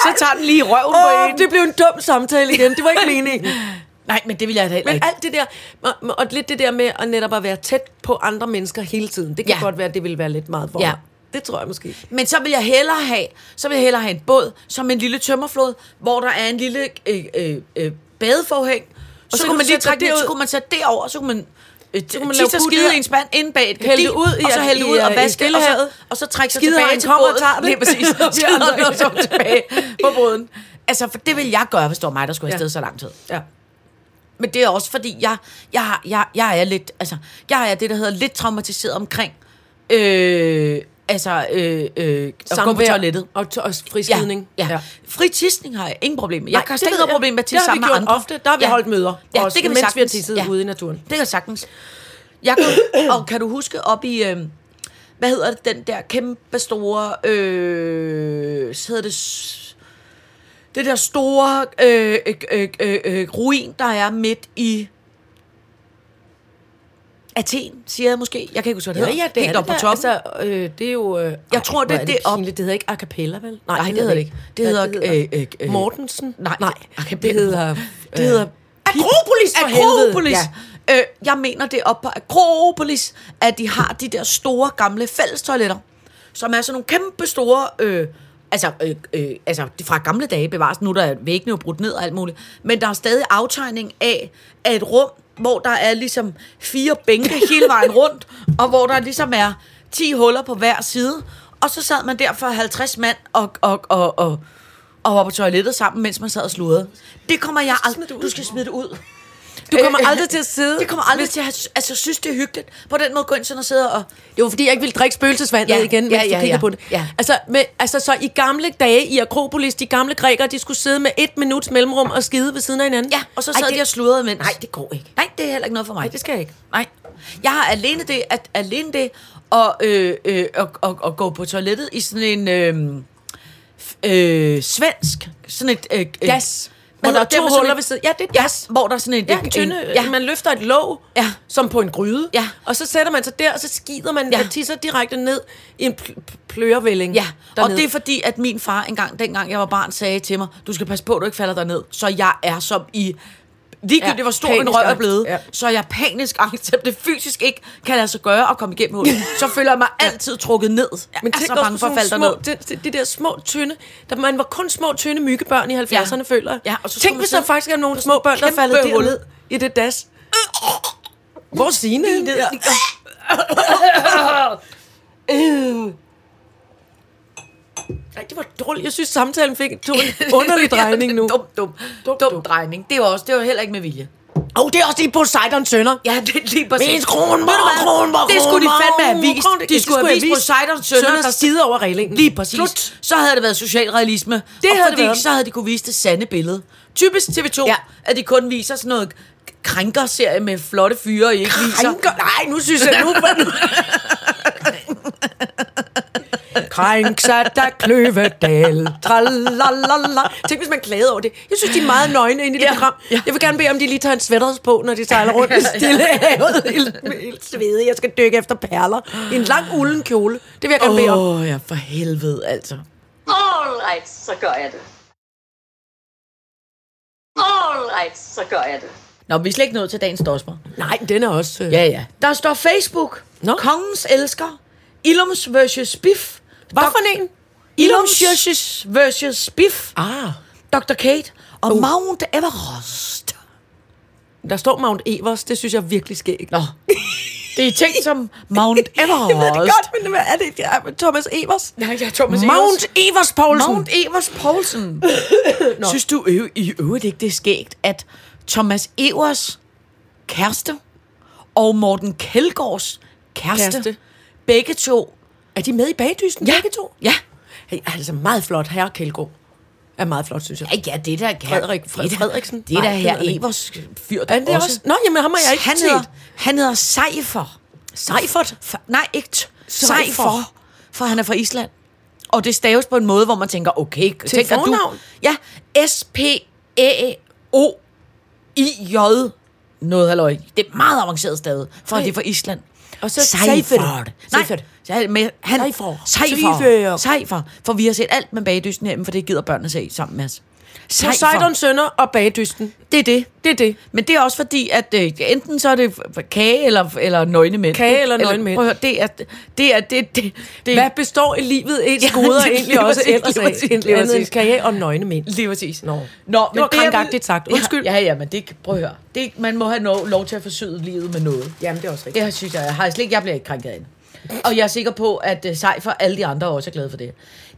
Speaker 3: Så tager den lige i røven
Speaker 4: Åh,
Speaker 3: på en.
Speaker 4: det blev en dum samtale igen. Det var ikke meningen.
Speaker 3: *laughs* Nej, men det vil jeg da heller
Speaker 4: Men
Speaker 3: ikke.
Speaker 4: alt det der, og, og lidt det der med at netop at være tæt på andre mennesker hele tiden, det kan
Speaker 3: Ja.
Speaker 4: ja. godt være, at det ville være lidt meget for
Speaker 3: Ja.
Speaker 4: mig. Det tror jeg måske.
Speaker 3: Men så vil jeg hellere have, så vil jeg hellere have en båd, som en lille tømmerflod, hvor der er en lille øh, øh, øh, badeforhæng.
Speaker 4: så
Speaker 3: Og så, så
Speaker 4: kan
Speaker 3: kunne
Speaker 4: du
Speaker 3: man lige
Speaker 4: sætte
Speaker 3: trække
Speaker 4: dig
Speaker 3: det ud,
Speaker 4: derud.
Speaker 3: så kunne man sætte det over, så kunne man øh,
Speaker 4: kunne
Speaker 3: så
Speaker 4: man
Speaker 3: man
Speaker 4: lave
Speaker 3: skide
Speaker 4: putte
Speaker 3: i en spand ind bag et
Speaker 4: Hælde
Speaker 3: gardin,
Speaker 4: det ud i-
Speaker 3: og så hælde det
Speaker 4: i- øh,
Speaker 3: ud og
Speaker 4: i
Speaker 3: vaske det, og så,
Speaker 4: Stillehavet.
Speaker 3: og så trække sig
Speaker 4: Skidehøjen
Speaker 3: tilbage til
Speaker 4: kommer og
Speaker 3: båden.
Speaker 4: tager det.
Speaker 3: Lige præcis.
Speaker 4: *laughs* Vi andre
Speaker 3: Skidehøjen
Speaker 4: ikke.
Speaker 3: kommer
Speaker 4: *laughs*
Speaker 3: tilbage på båden. Altså, for det vil jeg gøre, hvis det var mig, der skulle
Speaker 4: Ja.
Speaker 3: afsted så lang tid.
Speaker 4: Ja.
Speaker 3: Men det er også fordi, jeg, jeg, har- jeg, jeg er lidt, altså, jeg er det, der hedder lidt traumatiseret omkring, øh, altså, øh, øh, at gå på
Speaker 4: Samvær
Speaker 3: toilettet.
Speaker 4: Og, to- og friskidning.
Speaker 3: Ja, ja. ja. Fri tisning har jeg ingen problem med. Jeg
Speaker 4: Nej,
Speaker 3: Nej, kan
Speaker 4: det
Speaker 3: slet ikke
Speaker 4: ved
Speaker 3: noget
Speaker 4: jeg.
Speaker 3: problem med at
Speaker 4: Det
Speaker 3: tisse
Speaker 4: har vi
Speaker 3: sammen med
Speaker 4: gjort
Speaker 3: andre.
Speaker 4: ofte. Der har vi holdt møder
Speaker 3: Ja,
Speaker 4: også,
Speaker 3: det kan vi
Speaker 4: mens vi har
Speaker 3: sagtens.
Speaker 4: tisset ude i naturen.
Speaker 3: Det kan jeg sagtens. Jeg kan, og kan du huske op i... Øh, hvad hedder det, den der kæmpe store, øh, så hedder det, s- det der store øh, øh, øh, øh, øh, ruin, der er midt i Athen, siger jeg måske. Jeg kan ikke huske, hvad det hedder. Helt oppe på toppen.
Speaker 4: Altså, øh, det er jo... Øh,
Speaker 3: Jeg tror, det-
Speaker 4: hvor
Speaker 3: det er op-
Speaker 4: pinligt. Det hedder ikke a cappella, vel?
Speaker 3: Nej, det hedder det ikke. Det hedder, øh, øh, øh,
Speaker 4: Mortensen?
Speaker 3: Nej,
Speaker 4: Nej.
Speaker 3: a
Speaker 4: Det
Speaker 3: cappella.
Speaker 4: hedder... øh,
Speaker 3: Det hedder... Akropolis,
Speaker 4: for helvede.
Speaker 3: Akropolis. Ja. Øh, jeg mener, det er oppe på Akropolis, at de har de der store, gamle fællestoiletter, som er sådan nogle kæmpe store... Øh, altså, øh, øh, altså det er fra gamle dage bevares, nu er der er væggene jo brudt ned og alt muligt, men der er stadig aftegning af, af et rum, hvor der er ligesom fire *laughs* bænke hele vejen rundt, og hvor der ligesom er 10 huller på hver side, og så sad man der for 50 mand og, og, og, og, og var på toilettet sammen, mens man sad og sludrede. Det kommer jeg aldrig... Du skal smide det ud.
Speaker 4: Du kommer
Speaker 3: Øh, øh,
Speaker 4: aldrig til at sidde...
Speaker 3: Det kommer aldrig til at have- altså, synes, det er hyggeligt. På den måde gå ind sådan og sidde og...
Speaker 4: Det var fordi, jeg ikke ville drikke spøgelsesvandet
Speaker 3: Ja,
Speaker 4: ja, igen, mens
Speaker 3: ja,
Speaker 4: ja, du
Speaker 3: ja,
Speaker 4: kiggede
Speaker 3: ja.
Speaker 4: på det.
Speaker 3: Ja.
Speaker 4: Altså, med, altså, så i gamle dage i Akropolis, de gamle grækere, de skulle sidde med et minuts mellemrum og skide ved siden af hinanden.
Speaker 3: Ja, og så sad
Speaker 4: Ej, det,
Speaker 3: de og sludrede imens.
Speaker 4: Nej, det går ikke.
Speaker 3: Nej, det er heller ikke noget for mig.
Speaker 4: Nej, det skal jeg ikke.
Speaker 3: Nej. Jeg har alene det, at, alene det og, øh, øh, og, og, og gå på toilettet i sådan en øh, f- øh, svensk, sådan et... Øh, øh,
Speaker 4: Gas.
Speaker 3: Hvad
Speaker 4: Hvor der er
Speaker 3: hedder det?
Speaker 4: to
Speaker 3: Med sådan
Speaker 4: huller
Speaker 3: et-
Speaker 4: ved siden. Ja, det er et
Speaker 3: Ja,
Speaker 4: gas.
Speaker 3: hvor der er sådan et...
Speaker 4: Ja, en tynde,
Speaker 3: ja.
Speaker 4: ja. man løfter et låg,
Speaker 3: Ja.
Speaker 4: som på en gryde,
Speaker 3: Ja.
Speaker 4: og så sætter man sig der, og så skider man,
Speaker 3: Ja.
Speaker 4: ja. og tisser direkte ned i en pl- pl- plørevælling.
Speaker 3: Ja, og
Speaker 4: dernede.
Speaker 3: det er fordi, at min far engang, dengang jeg var barn, sagde til mig, du skal passe på, at du ikke falder derned, så jeg er som i... Ligegyldigt,
Speaker 4: Ja,
Speaker 3: ja, hvor stor en
Speaker 4: panisk
Speaker 3: røv er
Speaker 4: angst,
Speaker 3: blevet, ja.
Speaker 4: ja.
Speaker 3: så er jeg panisk angst, selvom det fysisk ikke kan lade sig gøre at komme igennem hullet.
Speaker 4: *laughs*
Speaker 3: Så føler jeg mig altid trukket ned. Jeg Men
Speaker 4: Men
Speaker 3: er
Speaker 4: tænk
Speaker 3: så
Speaker 4: også på
Speaker 3: bange for at
Speaker 4: sådan
Speaker 3: falde
Speaker 4: nogle
Speaker 3: derned.
Speaker 4: små, de, de, de der små, tynde... Der, man var kun små, tynde myggebørn i 70'erne,
Speaker 3: Ja.
Speaker 4: føler jeg.
Speaker 3: Ja, og så skulle
Speaker 4: tænk,
Speaker 3: man
Speaker 4: hvis der
Speaker 3: sidde
Speaker 4: faktisk er nogle små børn, der er
Speaker 3: kæmpe
Speaker 4: faldet
Speaker 3: hul.
Speaker 4: derned i det das. Hvor Signe? Ja. *laughs* Ej, det var
Speaker 3: *laughs*
Speaker 4: dårligt. Jeg synes, samtalen fik tog en underlig drejning nu.
Speaker 3: dum, dum, dum, dum, dum, drejning. Det er også, det var heller ikke med vilje.
Speaker 4: Og oh, det er også lige Poseidon sønner.
Speaker 3: Ja, det er lige præcis.
Speaker 4: Mens Kronborg,
Speaker 3: Ved du hvad?
Speaker 4: Kronborg,
Speaker 3: Det skulle de
Speaker 4: Kronborg,
Speaker 3: fandme have vist.
Speaker 4: Kronborg,
Speaker 3: De
Speaker 4: det
Speaker 3: skulle
Speaker 4: skulle
Speaker 3: have
Speaker 4: jeg
Speaker 3: vist
Speaker 4: vise.
Speaker 3: Poseidons sønner,
Speaker 4: Sønner,
Speaker 3: der
Speaker 4: der skider over reglingen.
Speaker 3: Lige præcis.
Speaker 4: Slut.
Speaker 3: Så havde det været socialrealisme. Det
Speaker 4: havde det
Speaker 3: fordi,
Speaker 4: været.
Speaker 3: Så havde de kunne vise det sande billede. Typisk TV2, ja.
Speaker 4: Ja.
Speaker 3: at de kun viser sådan noget krænkerserie med flotte fyre, I ikke viser.
Speaker 4: Krænker. Nej, nu synes jeg,
Speaker 3: *laughs*
Speaker 4: nu... Krænk sig der kløvedal. Tralalala. Tænk, hvis man klagede over det. Jeg synes, de er meget nøgne inde i det
Speaker 3: Ja,
Speaker 4: ja, program.
Speaker 3: ja.
Speaker 4: Ja. Jeg vil gerne bede om, de lige tager en sweaters på, når de sejler rundt i stille havet. Helt, helt svedige. Jeg skal dykke efter perler. I en lang ulden kjole. Det vil jeg gerne oh. bede om.
Speaker 3: Åh, oh, ja, for helvede, altså.
Speaker 5: Alright, så gør jeg det. Alright, så gør jeg det.
Speaker 3: Nå, vi er slet ikke nået til dagens dosmer.
Speaker 4: Nej, den er også... Øh,
Speaker 3: Ja, ja. Der står Facebook.
Speaker 4: Nå.
Speaker 3: Kongens elsker. Ilums versus Biff.
Speaker 4: Hvad
Speaker 3: Dok-
Speaker 4: for en?
Speaker 3: Ilums
Speaker 4: Illums?
Speaker 3: versus, versus Biff.
Speaker 4: Ah,
Speaker 3: Dr. Kate og uh. Mount Everest.
Speaker 4: der står Mount Evers. Det synes jeg er virkelig skægt.
Speaker 3: Nå. Det er tænkt som *laughs* Mount Everest.
Speaker 4: Jeg ved det godt, men hvad er det? Det er Thomas Evers.
Speaker 3: Nej, jeg er Thomas
Speaker 4: Mount Evers Poulsen.
Speaker 3: Mount Evers
Speaker 4: *laughs*
Speaker 3: Poulsen. Synes du ø- i øvrigt ikke, det er skægt, at Thomas Evers kæreste og Morten Kjeldgaards kæreste, kæreste.
Speaker 4: Kæreste.
Speaker 3: begge to...
Speaker 4: Er de med i bagdysten, ja. begge to?
Speaker 3: Ja.
Speaker 4: Hey, altså meget flot. Herre Kjeldgaard er meget flot, synes jeg.
Speaker 3: Ja, ja, det der
Speaker 4: Frederik- Fred- Frederiksen?
Speaker 3: Det der
Speaker 4: Nej, det
Speaker 3: her
Speaker 4: hedder det ikke.
Speaker 3: Evers fyr,
Speaker 4: Er det også? Nå, jamen ham har jeg ikke
Speaker 3: han
Speaker 4: set.
Speaker 3: hedder, han hedder Seifer.
Speaker 4: Seifert?
Speaker 3: F- nej, ikke t-
Speaker 4: Seifer.
Speaker 3: Seifer. For han er fra Island. Og det staves på en måde, hvor man tænker, okay, Til tænker
Speaker 4: fornavn?
Speaker 3: du... Ja, s p a o i j noget halløj. Det er meget avanceret stavet, for
Speaker 4: Nej.
Speaker 3: det er fra Island.
Speaker 4: Og så
Speaker 3: Seifer.
Speaker 4: Seifert.
Speaker 3: Nej,
Speaker 4: Seifert.
Speaker 3: jeg- med- han,
Speaker 4: Seifer.
Speaker 3: Seifer.
Speaker 4: Seifer.
Speaker 3: Seifer. For vi har set alt med bagdysten herhjemme, for det gider børnene se sammen med os.
Speaker 4: Poseidon Sønder og bagdysten.
Speaker 3: Det er det.
Speaker 4: Det er det.
Speaker 3: Men det er også fordi, at øh, enten så er det f- f- kage eller, eller nøgne mænd.
Speaker 4: Kage
Speaker 3: Det-
Speaker 4: eller nøgne mænd.
Speaker 3: Prøv at høre, det er... Det er det, det, det,
Speaker 4: Hvad består i livet ens
Speaker 3: Ja,
Speaker 4: ja, goder
Speaker 3: det er lige
Speaker 4: egentlig også
Speaker 3: præcis,
Speaker 4: ellers
Speaker 3: lige præcis,
Speaker 4: af?
Speaker 3: lige
Speaker 4: Andet end
Speaker 3: præcis.
Speaker 4: karriere og nøgne mænd.
Speaker 3: Lige præcis.
Speaker 4: Nå.
Speaker 3: Nå
Speaker 4: Det var
Speaker 3: jeg vil-
Speaker 4: krankagtigt sagt. Undskyld.
Speaker 3: Ja, ja, ja men det, prøv at høre. Det, man må have no, lov til at forsyde livet med noget.
Speaker 4: Jamen, det er også rigtigt.
Speaker 3: Det synes jeg, jeg har jeg slet ikke. Jeg bliver ikke krænket af det. Og jeg er sikker på, at uh, Seifer og alle de andre også er glade for det.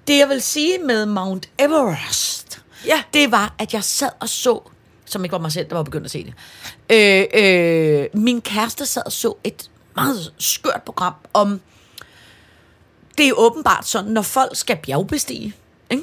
Speaker 3: Det, jeg vil sige med Mount Everest,
Speaker 4: Ja.
Speaker 3: det var, at jeg sad og så, som ikke var mig selv, der var begyndt at se det. Øh, øh, min kæreste sad og så et meget skørt program om... Det er åbenbart sådan, når folk skal bjergbestige, ikke?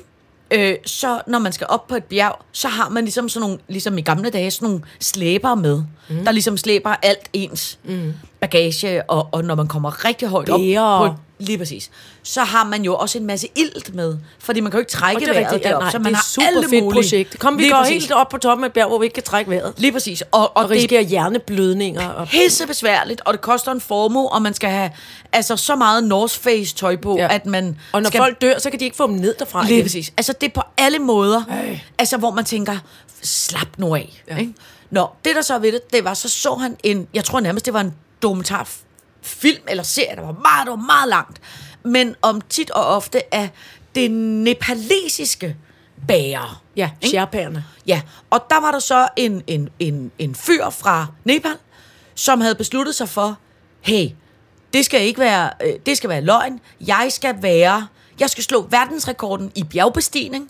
Speaker 3: Øh, så når man skal op på et bjerg, så har man ligesom sådan nogle, ligesom i gamle dage, sådan nogle slæber med, mm. der ligesom slæber alt ens mm. bagage, og, og når man kommer rigtig højt
Speaker 4: Bæger.
Speaker 3: op på et Lige præcis. Så har man jo også en masse ilt med, fordi man kan jo ikke trække
Speaker 4: Og det er
Speaker 3: vejret
Speaker 4: rigtigt. Ja,
Speaker 3: derop,
Speaker 4: nej,
Speaker 3: så
Speaker 4: det
Speaker 3: man
Speaker 4: er
Speaker 3: har
Speaker 4: et super
Speaker 3: alle
Speaker 4: fedt
Speaker 3: mulige.
Speaker 4: projekt. Kom, vi
Speaker 3: Lige
Speaker 4: går
Speaker 3: præcis.
Speaker 4: helt op på toppen af et bjerg, hvor vi ikke kan trække vejret.
Speaker 3: Lige præcis. Og, og,
Speaker 4: Og
Speaker 3: det er
Speaker 4: risikerer hjerneblødninger. Og...
Speaker 3: pissebesværligt, og det koster en formue, og man skal have altså, så meget North Face tøj på, ja. at man
Speaker 4: og når
Speaker 3: skal...
Speaker 4: folk dør, så kan de ikke få dem ned derfra.
Speaker 3: Lige
Speaker 4: igen.
Speaker 3: præcis. Altså, det er på alle måder. Ej. Altså, hvor man tænker, slap nu af. Ja. Ikke? Nå, det der så er ved det, det var, så så han en, jeg tror nærmest, det var en dokumentar film eller serie, der var meget, der var meget langt, men om tit og ofte af det nepalesiske bager.
Speaker 4: Ja,
Speaker 3: Ikke?
Speaker 4: sherperne.
Speaker 3: Ja, og der var der så en, en, en, en fyr fra Nepal, som havde besluttet sig for, hey, det skal ikke være, øh, det skal være løgn. Jeg skal være, jeg skal slå verdensrekorden i bjergbestigning,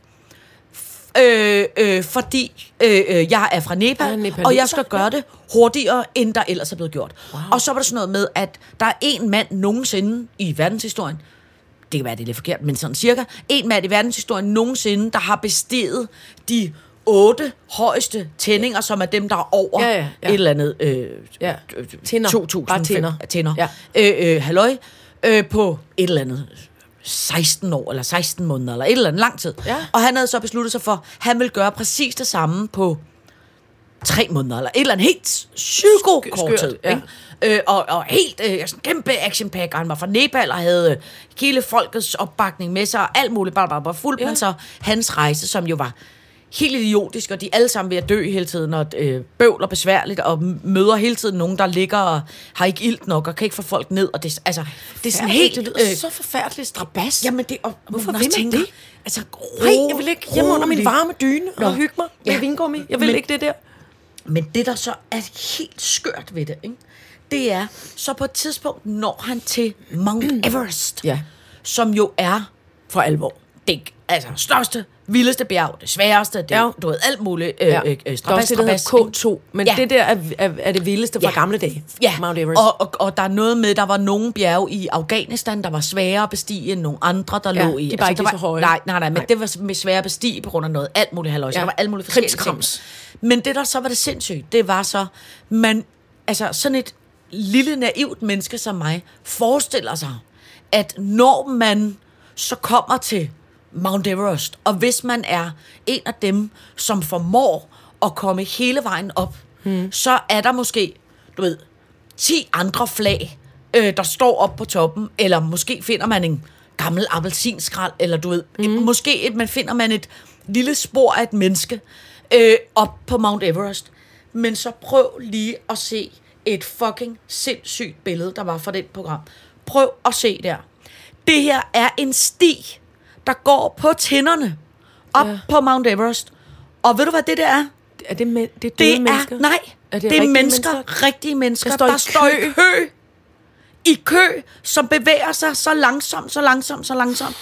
Speaker 3: f- øh, øh, fordi øh, øh, jeg er fra
Speaker 4: Jeg er
Speaker 3: Nepal,
Speaker 4: nepaleser,
Speaker 3: og jeg skal gøre
Speaker 4: ja.
Speaker 3: det hurtigere, end der ellers er blevet gjort. Wow. Og så var der sådan noget med, at der er en mand nogensinde i verdenshistorien, det kan være, det er lidt forkert, men sådan cirka, en mand i verdenshistorien nogensinde, der har besteget de otte højeste tændinger, som er dem, der er over
Speaker 4: Ja, ja, ja.
Speaker 3: et eller andet øh,
Speaker 4: Ja.
Speaker 3: øh,
Speaker 4: Tinder.
Speaker 3: 2000
Speaker 4: Bare tinder.
Speaker 3: tænder.
Speaker 4: Ja.
Speaker 3: Øh, øh, halløj. øh, på et eller andet 16 år, eller 16 måneder, eller et eller andet lang tid.
Speaker 4: Ja.
Speaker 3: Og han havde så besluttet sig for, at han ville gøre præcis det samme på tre måneder, eller et eller andet helt psykokort
Speaker 4: Skørt,
Speaker 3: tid.
Speaker 4: ja.
Speaker 3: ikke? Øh, og, og helt øh, sådan kæmpe actionpack, og han var fra Nepal og havde øh, hele folkets opbakning med sig, og alt muligt, bare, bare, bare fuldt, ja. men så hans rejse, som jo var helt idiotisk, og de er alle sammen ved at dø hele tiden, og øh, bøvler besværligt, og m- møder hele tiden nogen, der ligger og har ikke ilt nok, og kan ikke få folk ned, og det, altså, det er sådan helt...
Speaker 4: det lyder øh, så forfærdeligt strabas.
Speaker 3: Jamen det, og
Speaker 4: Hvorfor
Speaker 3: man
Speaker 4: vil
Speaker 3: også
Speaker 4: man det?
Speaker 3: Altså, ro,
Speaker 4: Nej, jeg vil ikke hjemme under min
Speaker 3: rolig.
Speaker 4: varme dyne
Speaker 3: Nå.
Speaker 4: og hygge mig med
Speaker 3: Ja.
Speaker 4: ja. vingummi. Jeg vil
Speaker 3: Men-
Speaker 4: men, ikke det der.
Speaker 3: Men det, der så er helt skørt ved det, ikke? det er, så på et tidspunkt når han til
Speaker 4: *clears throat*
Speaker 3: Mount Everest,
Speaker 4: Ja.
Speaker 3: som jo er
Speaker 4: For alvor.
Speaker 3: det altså største, vildeste bjerg, det sværeste, det, ja.
Speaker 4: Ja.
Speaker 3: du ved, alt muligt. Øh, ja. øh,
Speaker 4: Der er
Speaker 3: øh,
Speaker 4: også det, der hedder K2, men
Speaker 3: Ja.
Speaker 4: ja. det der er, er, er det vildeste fra
Speaker 3: Ja.
Speaker 4: gamle dage.
Speaker 3: Ja,
Speaker 4: Mount Everest.
Speaker 3: Og, og, og der er noget med, der var nogle bjerge i Afghanistan, der var svære at bestige end nogle andre, der
Speaker 4: Ja,
Speaker 3: lå i. Altså,
Speaker 4: de er bare ikke
Speaker 3: der
Speaker 4: lige så
Speaker 3: var,
Speaker 4: høje.
Speaker 3: Nej, nej, nej, men nej.
Speaker 4: Nej.
Speaker 3: det var med svære at bestige på grund af noget alt muligt halvøj. Ja.
Speaker 4: Ja,
Speaker 3: Der var alt muligt forskellige
Speaker 4: krimskrams.
Speaker 3: ting. Men det, der så var det sindssygt, det var så, man, altså sådan et lille naivt menneske som mig, forestiller sig, at når man så kommer til Mount Everest, og hvis man er en af dem, som formår at komme hele vejen op, hmm. så er der måske, du ved, 10 andre flag, øh, der står op på toppen, eller måske finder man en gammel appelsinskrald, eller du ved, mm. måske et, man finder man et lille spor af et menneske øh, op på Mount Everest. Men så prøv lige at se et fucking sindssygt billede, der var fra det program. Prøv at se der. Det her er en sti, der går på tænderne op ja. på Mount Everest. Og ved du, hvad det der er?
Speaker 4: er det, med, det er døde
Speaker 3: Det er,
Speaker 4: mennesker?
Speaker 3: nej,
Speaker 4: Er det
Speaker 3: det, det er
Speaker 4: rigtige
Speaker 3: mennesker, mennesker,
Speaker 4: mennesker?
Speaker 3: rigtige mennesker, der
Speaker 4: Der
Speaker 3: står,
Speaker 4: står
Speaker 3: der
Speaker 4: i
Speaker 3: står i kø. I kø, som bevæger sig så langsomt, så langsomt, så langsomt.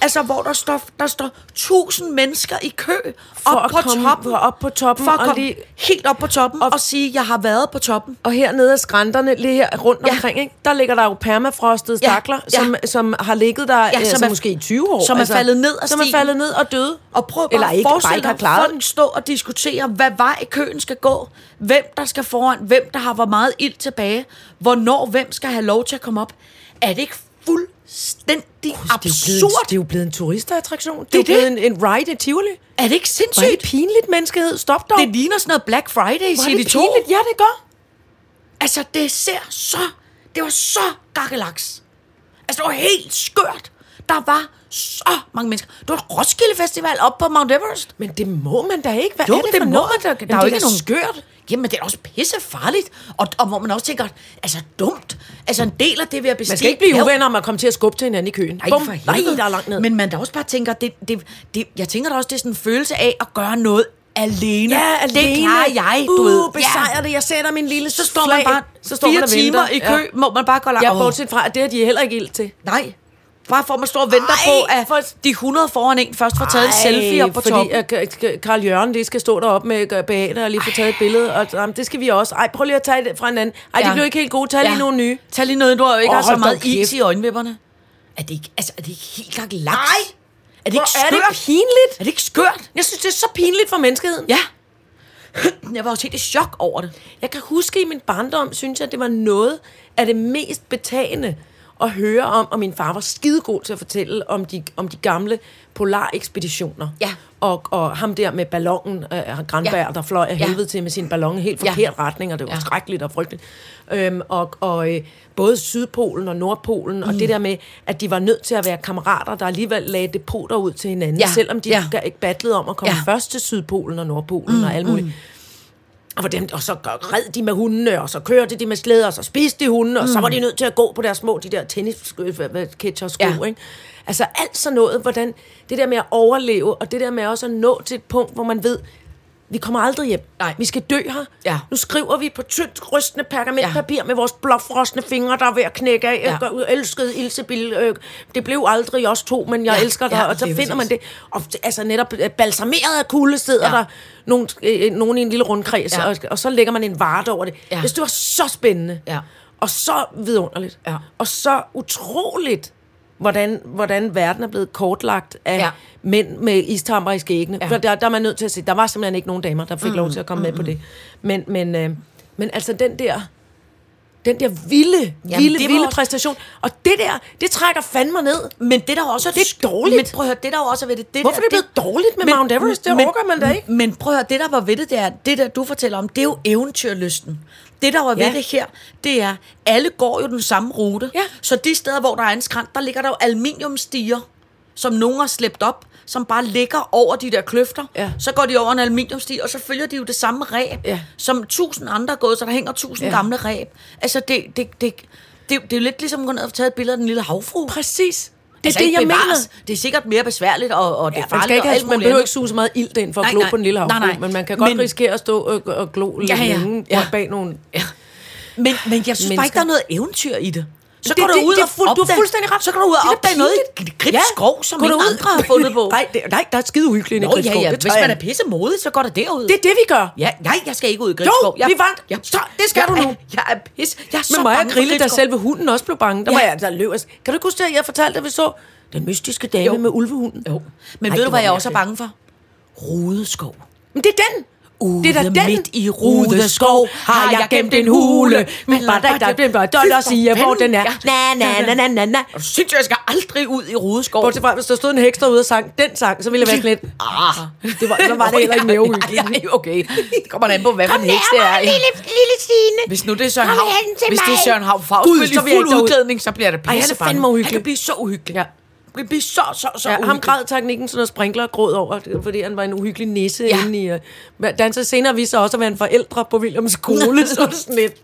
Speaker 3: Altså, hvor der står, der står tusind mennesker i kø for op
Speaker 4: at
Speaker 3: på
Speaker 4: komme-
Speaker 3: toppen.
Speaker 4: for op på toppen
Speaker 3: For at
Speaker 4: og
Speaker 3: komme
Speaker 4: lige-
Speaker 3: helt op på toppen og, og sige, jeg har været på toppen.
Speaker 4: Og hernede af skrænterne, lige her rundt
Speaker 3: Ja.
Speaker 4: ja. omkring, ikke? der ligger der jo permafrostede
Speaker 3: Ja.
Speaker 4: stakler,
Speaker 3: Ja.
Speaker 4: ja. som, som har ligget der ja, som altså, er, måske i 20 år.
Speaker 3: øh,
Speaker 4: altså.
Speaker 3: som er faldet ned ad
Speaker 4: Som er
Speaker 3: stigen.
Speaker 4: faldet ned og døde.
Speaker 3: Og prøv bare
Speaker 4: Eller ikke,
Speaker 3: at
Speaker 4: bare
Speaker 3: forestille
Speaker 4: ikke har
Speaker 3: dig,
Speaker 4: klaret
Speaker 3: folk stå og diskutere, hvad vej køen skal gå, hvem der skal foran, hvem der har hvor meget ild tilbage, hvornår hvem skal have lov til at komme op. Er det ikke fuldstændig
Speaker 4: Det er, jo blevet,
Speaker 3: absurd?
Speaker 4: det er jo blevet en turistattraktion.
Speaker 3: Det
Speaker 4: Det
Speaker 3: er
Speaker 4: er, det er blevet en, en ride i Tivoli.
Speaker 3: Er det ikke
Speaker 4: Hvor er
Speaker 3: sindssygt?
Speaker 4: det pinligt, menneskehed. Stop dog.
Speaker 3: Det ligner sådan noget Black Friday,
Speaker 4: Hvor
Speaker 3: siger
Speaker 4: er
Speaker 3: de
Speaker 4: det
Speaker 3: to.
Speaker 4: pinligt. Ja, det gør.
Speaker 3: Altså, det ser så... Det var så gakkelaks. Altså, det var helt skørt. Der var så mange mennesker. Det var et Roskilde Festival op på Mount Everest.
Speaker 4: Men det må man da ikke. Hvad
Speaker 3: Jo,
Speaker 4: er det,
Speaker 3: det
Speaker 4: for
Speaker 3: må
Speaker 4: noget?
Speaker 3: man da. Der
Speaker 4: Jamen,
Speaker 3: er jo
Speaker 4: det
Speaker 3: ikke nogen-
Speaker 4: skørt.
Speaker 3: Jamen, det er da også pissefarligt. Og, og hvor man også tænker, altså dumt. Altså, en del af det ved at bestige...
Speaker 4: Man skal ikke blive
Speaker 3: bjerg-
Speaker 4: uvenner om at komme til at skubbe til hinanden i køen.
Speaker 3: Nej,
Speaker 4: Bum.
Speaker 3: for helvede.
Speaker 4: Nej, der er langt ned.
Speaker 3: Men man da også bare tænker, det, det, det, jeg tænker da også, det er sådan en følelse af at gøre noget alene. Det klarer jeg, du
Speaker 4: uh,
Speaker 3: ved.
Speaker 4: besejrer det. Jeg sætter min lille
Speaker 3: Så står man bare så står
Speaker 4: fire
Speaker 3: man og timer i kø, ja.
Speaker 4: Ja.
Speaker 3: må man bare gå langt.
Speaker 4: Ja, bortset fra, at det har de heller ikke ild til.
Speaker 3: Nej. Bare for at man står og venter
Speaker 4: Ej,
Speaker 3: på, at
Speaker 4: for-
Speaker 3: de 100 foran en først får taget en selfie op på
Speaker 4: fordi
Speaker 3: toppen.
Speaker 4: Fordi Karl Jørgen lige skal stå deroppe med øh, Beate og lige få taget et billede. Og, jamen, det skal vi også. Ej, prøv lige at tage det fra en anden. Ej, ja.
Speaker 3: Ja.
Speaker 4: de blev ikke helt gode. Tag ja. lige nogle nye.
Speaker 3: Tag lige noget, du har jo ikke
Speaker 4: Åh,
Speaker 3: oh, har så
Speaker 4: hold da
Speaker 3: meget
Speaker 4: kæft.
Speaker 3: is i øjenvipperne. Er det ikke, altså, er det ikke helt klart laks?
Speaker 4: Nej.
Speaker 3: Er det
Speaker 4: Hvor
Speaker 3: ikke skørt?
Speaker 4: er det pinligt?
Speaker 3: Er det ikke skørt?
Speaker 4: Jeg synes, det er så pinligt for menneskeheden.
Speaker 3: Ja. *clears throat* Jeg var også helt i chok over det.
Speaker 4: Jeg kan huske i min barndom, synes jeg, det var noget af det mest betagende at høre om, og min far var skidegod til at fortælle om de, om de gamle polarekspeditioner.
Speaker 3: Ja.
Speaker 4: Og, og ham der med ballonen, øh, Granberg,
Speaker 3: Ja.
Speaker 4: ja. der fløj af
Speaker 3: Ja.
Speaker 4: helvede til med sin ballon i helt
Speaker 3: Ja.
Speaker 4: forkert ja. retning, og det var
Speaker 3: Ja.
Speaker 4: ja. skrækkeligt og frygteligt. Øhm, og og øh, både Sydpolen og Nordpolen, mm. og det der med, at de var nødt til at være kammerater, der alligevel lagde depoter ud til hinanden,
Speaker 3: Ja.
Speaker 4: selvom de
Speaker 3: Ja.
Speaker 4: ikke battlede om at komme
Speaker 3: Ja.
Speaker 4: ja. først til Sydpolen og Nordpolen mm. og alt muligt. Og, for dem, og så red de med hundene, og så kørte de med slæder, og så spiste de hundene, og så var de nødt til at gå på deres små, de der øh, tennisketcher sko,
Speaker 3: Mm. Ja.
Speaker 4: ja. ikke? Altså alt sådan noget, hvordan det der med at overleve, og det der med også at nå til et punkt, hvor man ved, vi kommer aldrig hjem.
Speaker 3: Nej.
Speaker 4: Vi skal dø her.
Speaker 3: Ja.
Speaker 4: Nu skriver vi på tyndt rystende pergamentpapir ja. med vores blåfrostne fingre, der er ved at knække af.
Speaker 3: Ja.
Speaker 4: Ja. Jeg elskede Ilsebil. Øh, det blev aldrig os to, men jeg
Speaker 3: Ja,
Speaker 4: ja. elsker dig.
Speaker 3: ja,
Speaker 4: Ja, og så
Speaker 3: lige
Speaker 4: finder man
Speaker 3: præcis.
Speaker 4: det. Og det- altså netop øh, balsameret af kulde sidder
Speaker 3: Ja.
Speaker 4: ja. der nogen, øh, nogen i en lille rundkreds,
Speaker 3: Ja.
Speaker 4: ja. og, og så lægger man en varte over det.
Speaker 3: Ja.
Speaker 4: Ja. Jeg synes, det var så spændende.
Speaker 3: Ja.
Speaker 4: Og så vidunderligt.
Speaker 3: Ja.
Speaker 4: Og så utroligt, hvordan, hvordan verden er blevet kortlagt af
Speaker 3: Ja.
Speaker 4: ja. mænd med istamper i skæggene.
Speaker 3: Ja.
Speaker 4: Ja. For der, der er man nødt til at se, der var simpelthen ikke nogen damer, der fik mm, lov til at komme mm, med på det. Men, men, øh, men altså den der Den der vilde,
Speaker 3: Jamen,
Speaker 4: vilde,
Speaker 3: det var
Speaker 4: vilde
Speaker 3: også-
Speaker 4: præstation. Og det der, det trækker fandme ned.
Speaker 3: Men det der også er
Speaker 4: Det er
Speaker 3: sk-
Speaker 4: dårligt.
Speaker 3: Men prøv at høre, det der også er ved det, det
Speaker 4: Hvorfor er
Speaker 3: der,
Speaker 4: det blevet dårligt med Mount Everest? Det orker man da ikke.
Speaker 3: Men prøv at høre, det der var ved det, det er, det der du fortæller om, det er jo eventyrlysten. Det der var ved
Speaker 4: Ja.
Speaker 3: det her, det er, alle går jo den samme rute.
Speaker 4: Ja.
Speaker 3: Så de steder, hvor der er en skrant, der ligger der jo aluminiumstiger, som nogen har slæbt op, som bare ligger over de der kløfter.
Speaker 4: Ja.
Speaker 3: Så går de over en aluminiumstige, og så følger de jo det samme ræb,
Speaker 4: Ja.
Speaker 3: som tusind andre er gået, så der hænger tusind
Speaker 4: Ja.
Speaker 3: gamle ræb. Altså, det, det, det, det, det, det er jo lidt ligesom at gå ned og tage et billede af den lille havfru.
Speaker 4: Præcis. Det er
Speaker 3: Altså,
Speaker 4: det,
Speaker 3: ikke
Speaker 4: jeg
Speaker 3: bevares.
Speaker 4: mener.
Speaker 3: Det er sikkert mere besværligt, og, og det er
Speaker 4: Ja, man,
Speaker 3: farligt.
Speaker 4: skal ikke
Speaker 3: og
Speaker 4: have,
Speaker 3: alt
Speaker 4: man
Speaker 3: muligt
Speaker 4: behøver
Speaker 3: andet.
Speaker 4: ikke suge så meget ild ind for at
Speaker 3: Nej,
Speaker 4: glo
Speaker 3: nej.
Speaker 4: på den lille havfru,
Speaker 3: Nej, nej.
Speaker 4: men man kan godt
Speaker 3: Men-
Speaker 4: risikere at stå og, og glo lidt
Speaker 3: Ja, ja.
Speaker 4: længe
Speaker 3: Ja.
Speaker 4: bag nogle... Ja.
Speaker 3: Men, men jeg synes bare ikke,
Speaker 4: Mennesker.
Speaker 3: der er noget eventyr i det. Så
Speaker 4: Det-
Speaker 3: går du
Speaker 4: det-
Speaker 3: ud
Speaker 4: det er
Speaker 3: og
Speaker 4: fuld- du har
Speaker 3: opdager-
Speaker 4: fuldstændig ret.
Speaker 3: Så går du ud
Speaker 4: Det er
Speaker 3: og
Speaker 4: da
Speaker 3: opdager noget i
Speaker 4: pinligt.
Speaker 3: gribskov, skov, som
Speaker 4: Går du
Speaker 3: ingen
Speaker 4: ud-
Speaker 3: andre har fundet på.
Speaker 4: nej, det, nej, der er skide uhyggeligt inde i
Speaker 3: Nå, ja,
Speaker 4: Gribskov.
Speaker 3: ja.
Speaker 4: Det
Speaker 3: Hvis
Speaker 4: tør jeg
Speaker 3: man er
Speaker 4: ikke.
Speaker 3: pissemodig, så går der derud.
Speaker 4: Det er det, vi gør.
Speaker 3: Ja, nej, jeg skal ikke ud i Gribskov.
Speaker 4: Jo,
Speaker 3: jeg,
Speaker 4: vi vandt.
Speaker 3: Jeg,
Speaker 4: Så, det skal
Speaker 3: jeg,
Speaker 4: du nu.
Speaker 3: er- Jeg er pis. Jeg er så
Speaker 4: Men mig og
Speaker 3: bange for
Speaker 4: Grille, der
Speaker 3: Gribskov.
Speaker 4: selve hunden også blev bange, der var
Speaker 3: Ja.
Speaker 4: jeg, der løb. Altså, Kan du ikke huske det, jeg fortalte, at vi så den mystiske dame
Speaker 3: Jo.
Speaker 4: med ulvehunden?
Speaker 3: Jo.
Speaker 4: Ej, det
Speaker 3: Men ved du, hvad
Speaker 4: var
Speaker 3: jeg også er
Speaker 4: mærkeligt.
Speaker 3: bange for? Rudeskov.
Speaker 4: Men det er den!
Speaker 3: Ude
Speaker 4: det er da den.
Speaker 3: midt i Rudeskov har jeg gemt en hule.
Speaker 4: Men bare der, der bliver bare dølt og siger, hvor den er. Na, na, na, na, na, na.
Speaker 3: Er du sindssygt, jeg skal aldrig ud i Rudeskov?
Speaker 4: Bortset fra, hvis der stod en heks derude og sang den sang, så ville jeg være sådan lidt...
Speaker 3: Ah,
Speaker 4: Det var, så var det heller ikke mere uhyggeligt.
Speaker 3: Nej, nej, okay. Det kommer an på, hvad for en heks det er. Lille, lille Stine. Hvis nu det er Søren
Speaker 4: Kom
Speaker 3: Hav,
Speaker 4: hen til
Speaker 3: hvis det er
Speaker 4: mig.
Speaker 3: Søren Hav
Speaker 4: Gud,
Speaker 3: Faust,
Speaker 4: så
Speaker 3: så
Speaker 4: vil jeg
Speaker 3: fuld
Speaker 4: ikke derud.
Speaker 3: udklædning, så bliver det
Speaker 4: Ej, han er
Speaker 3: pisse
Speaker 4: fandme uhyggelig.
Speaker 3: Han kan blive så uhyggelig.
Speaker 4: Ja.
Speaker 3: Han kan blive så, så, så
Speaker 4: Ja,
Speaker 3: uhyggelig.
Speaker 4: ham græd teknikken sådan noget sprinkler og gråd over, det var, fordi han var en uhyggelig nisse
Speaker 3: Ja.
Speaker 4: ja. inde i... øh, hvad- Da han så senere viste sig også at være en forældre på Williams *laughs* skole, så var det sådan lidt...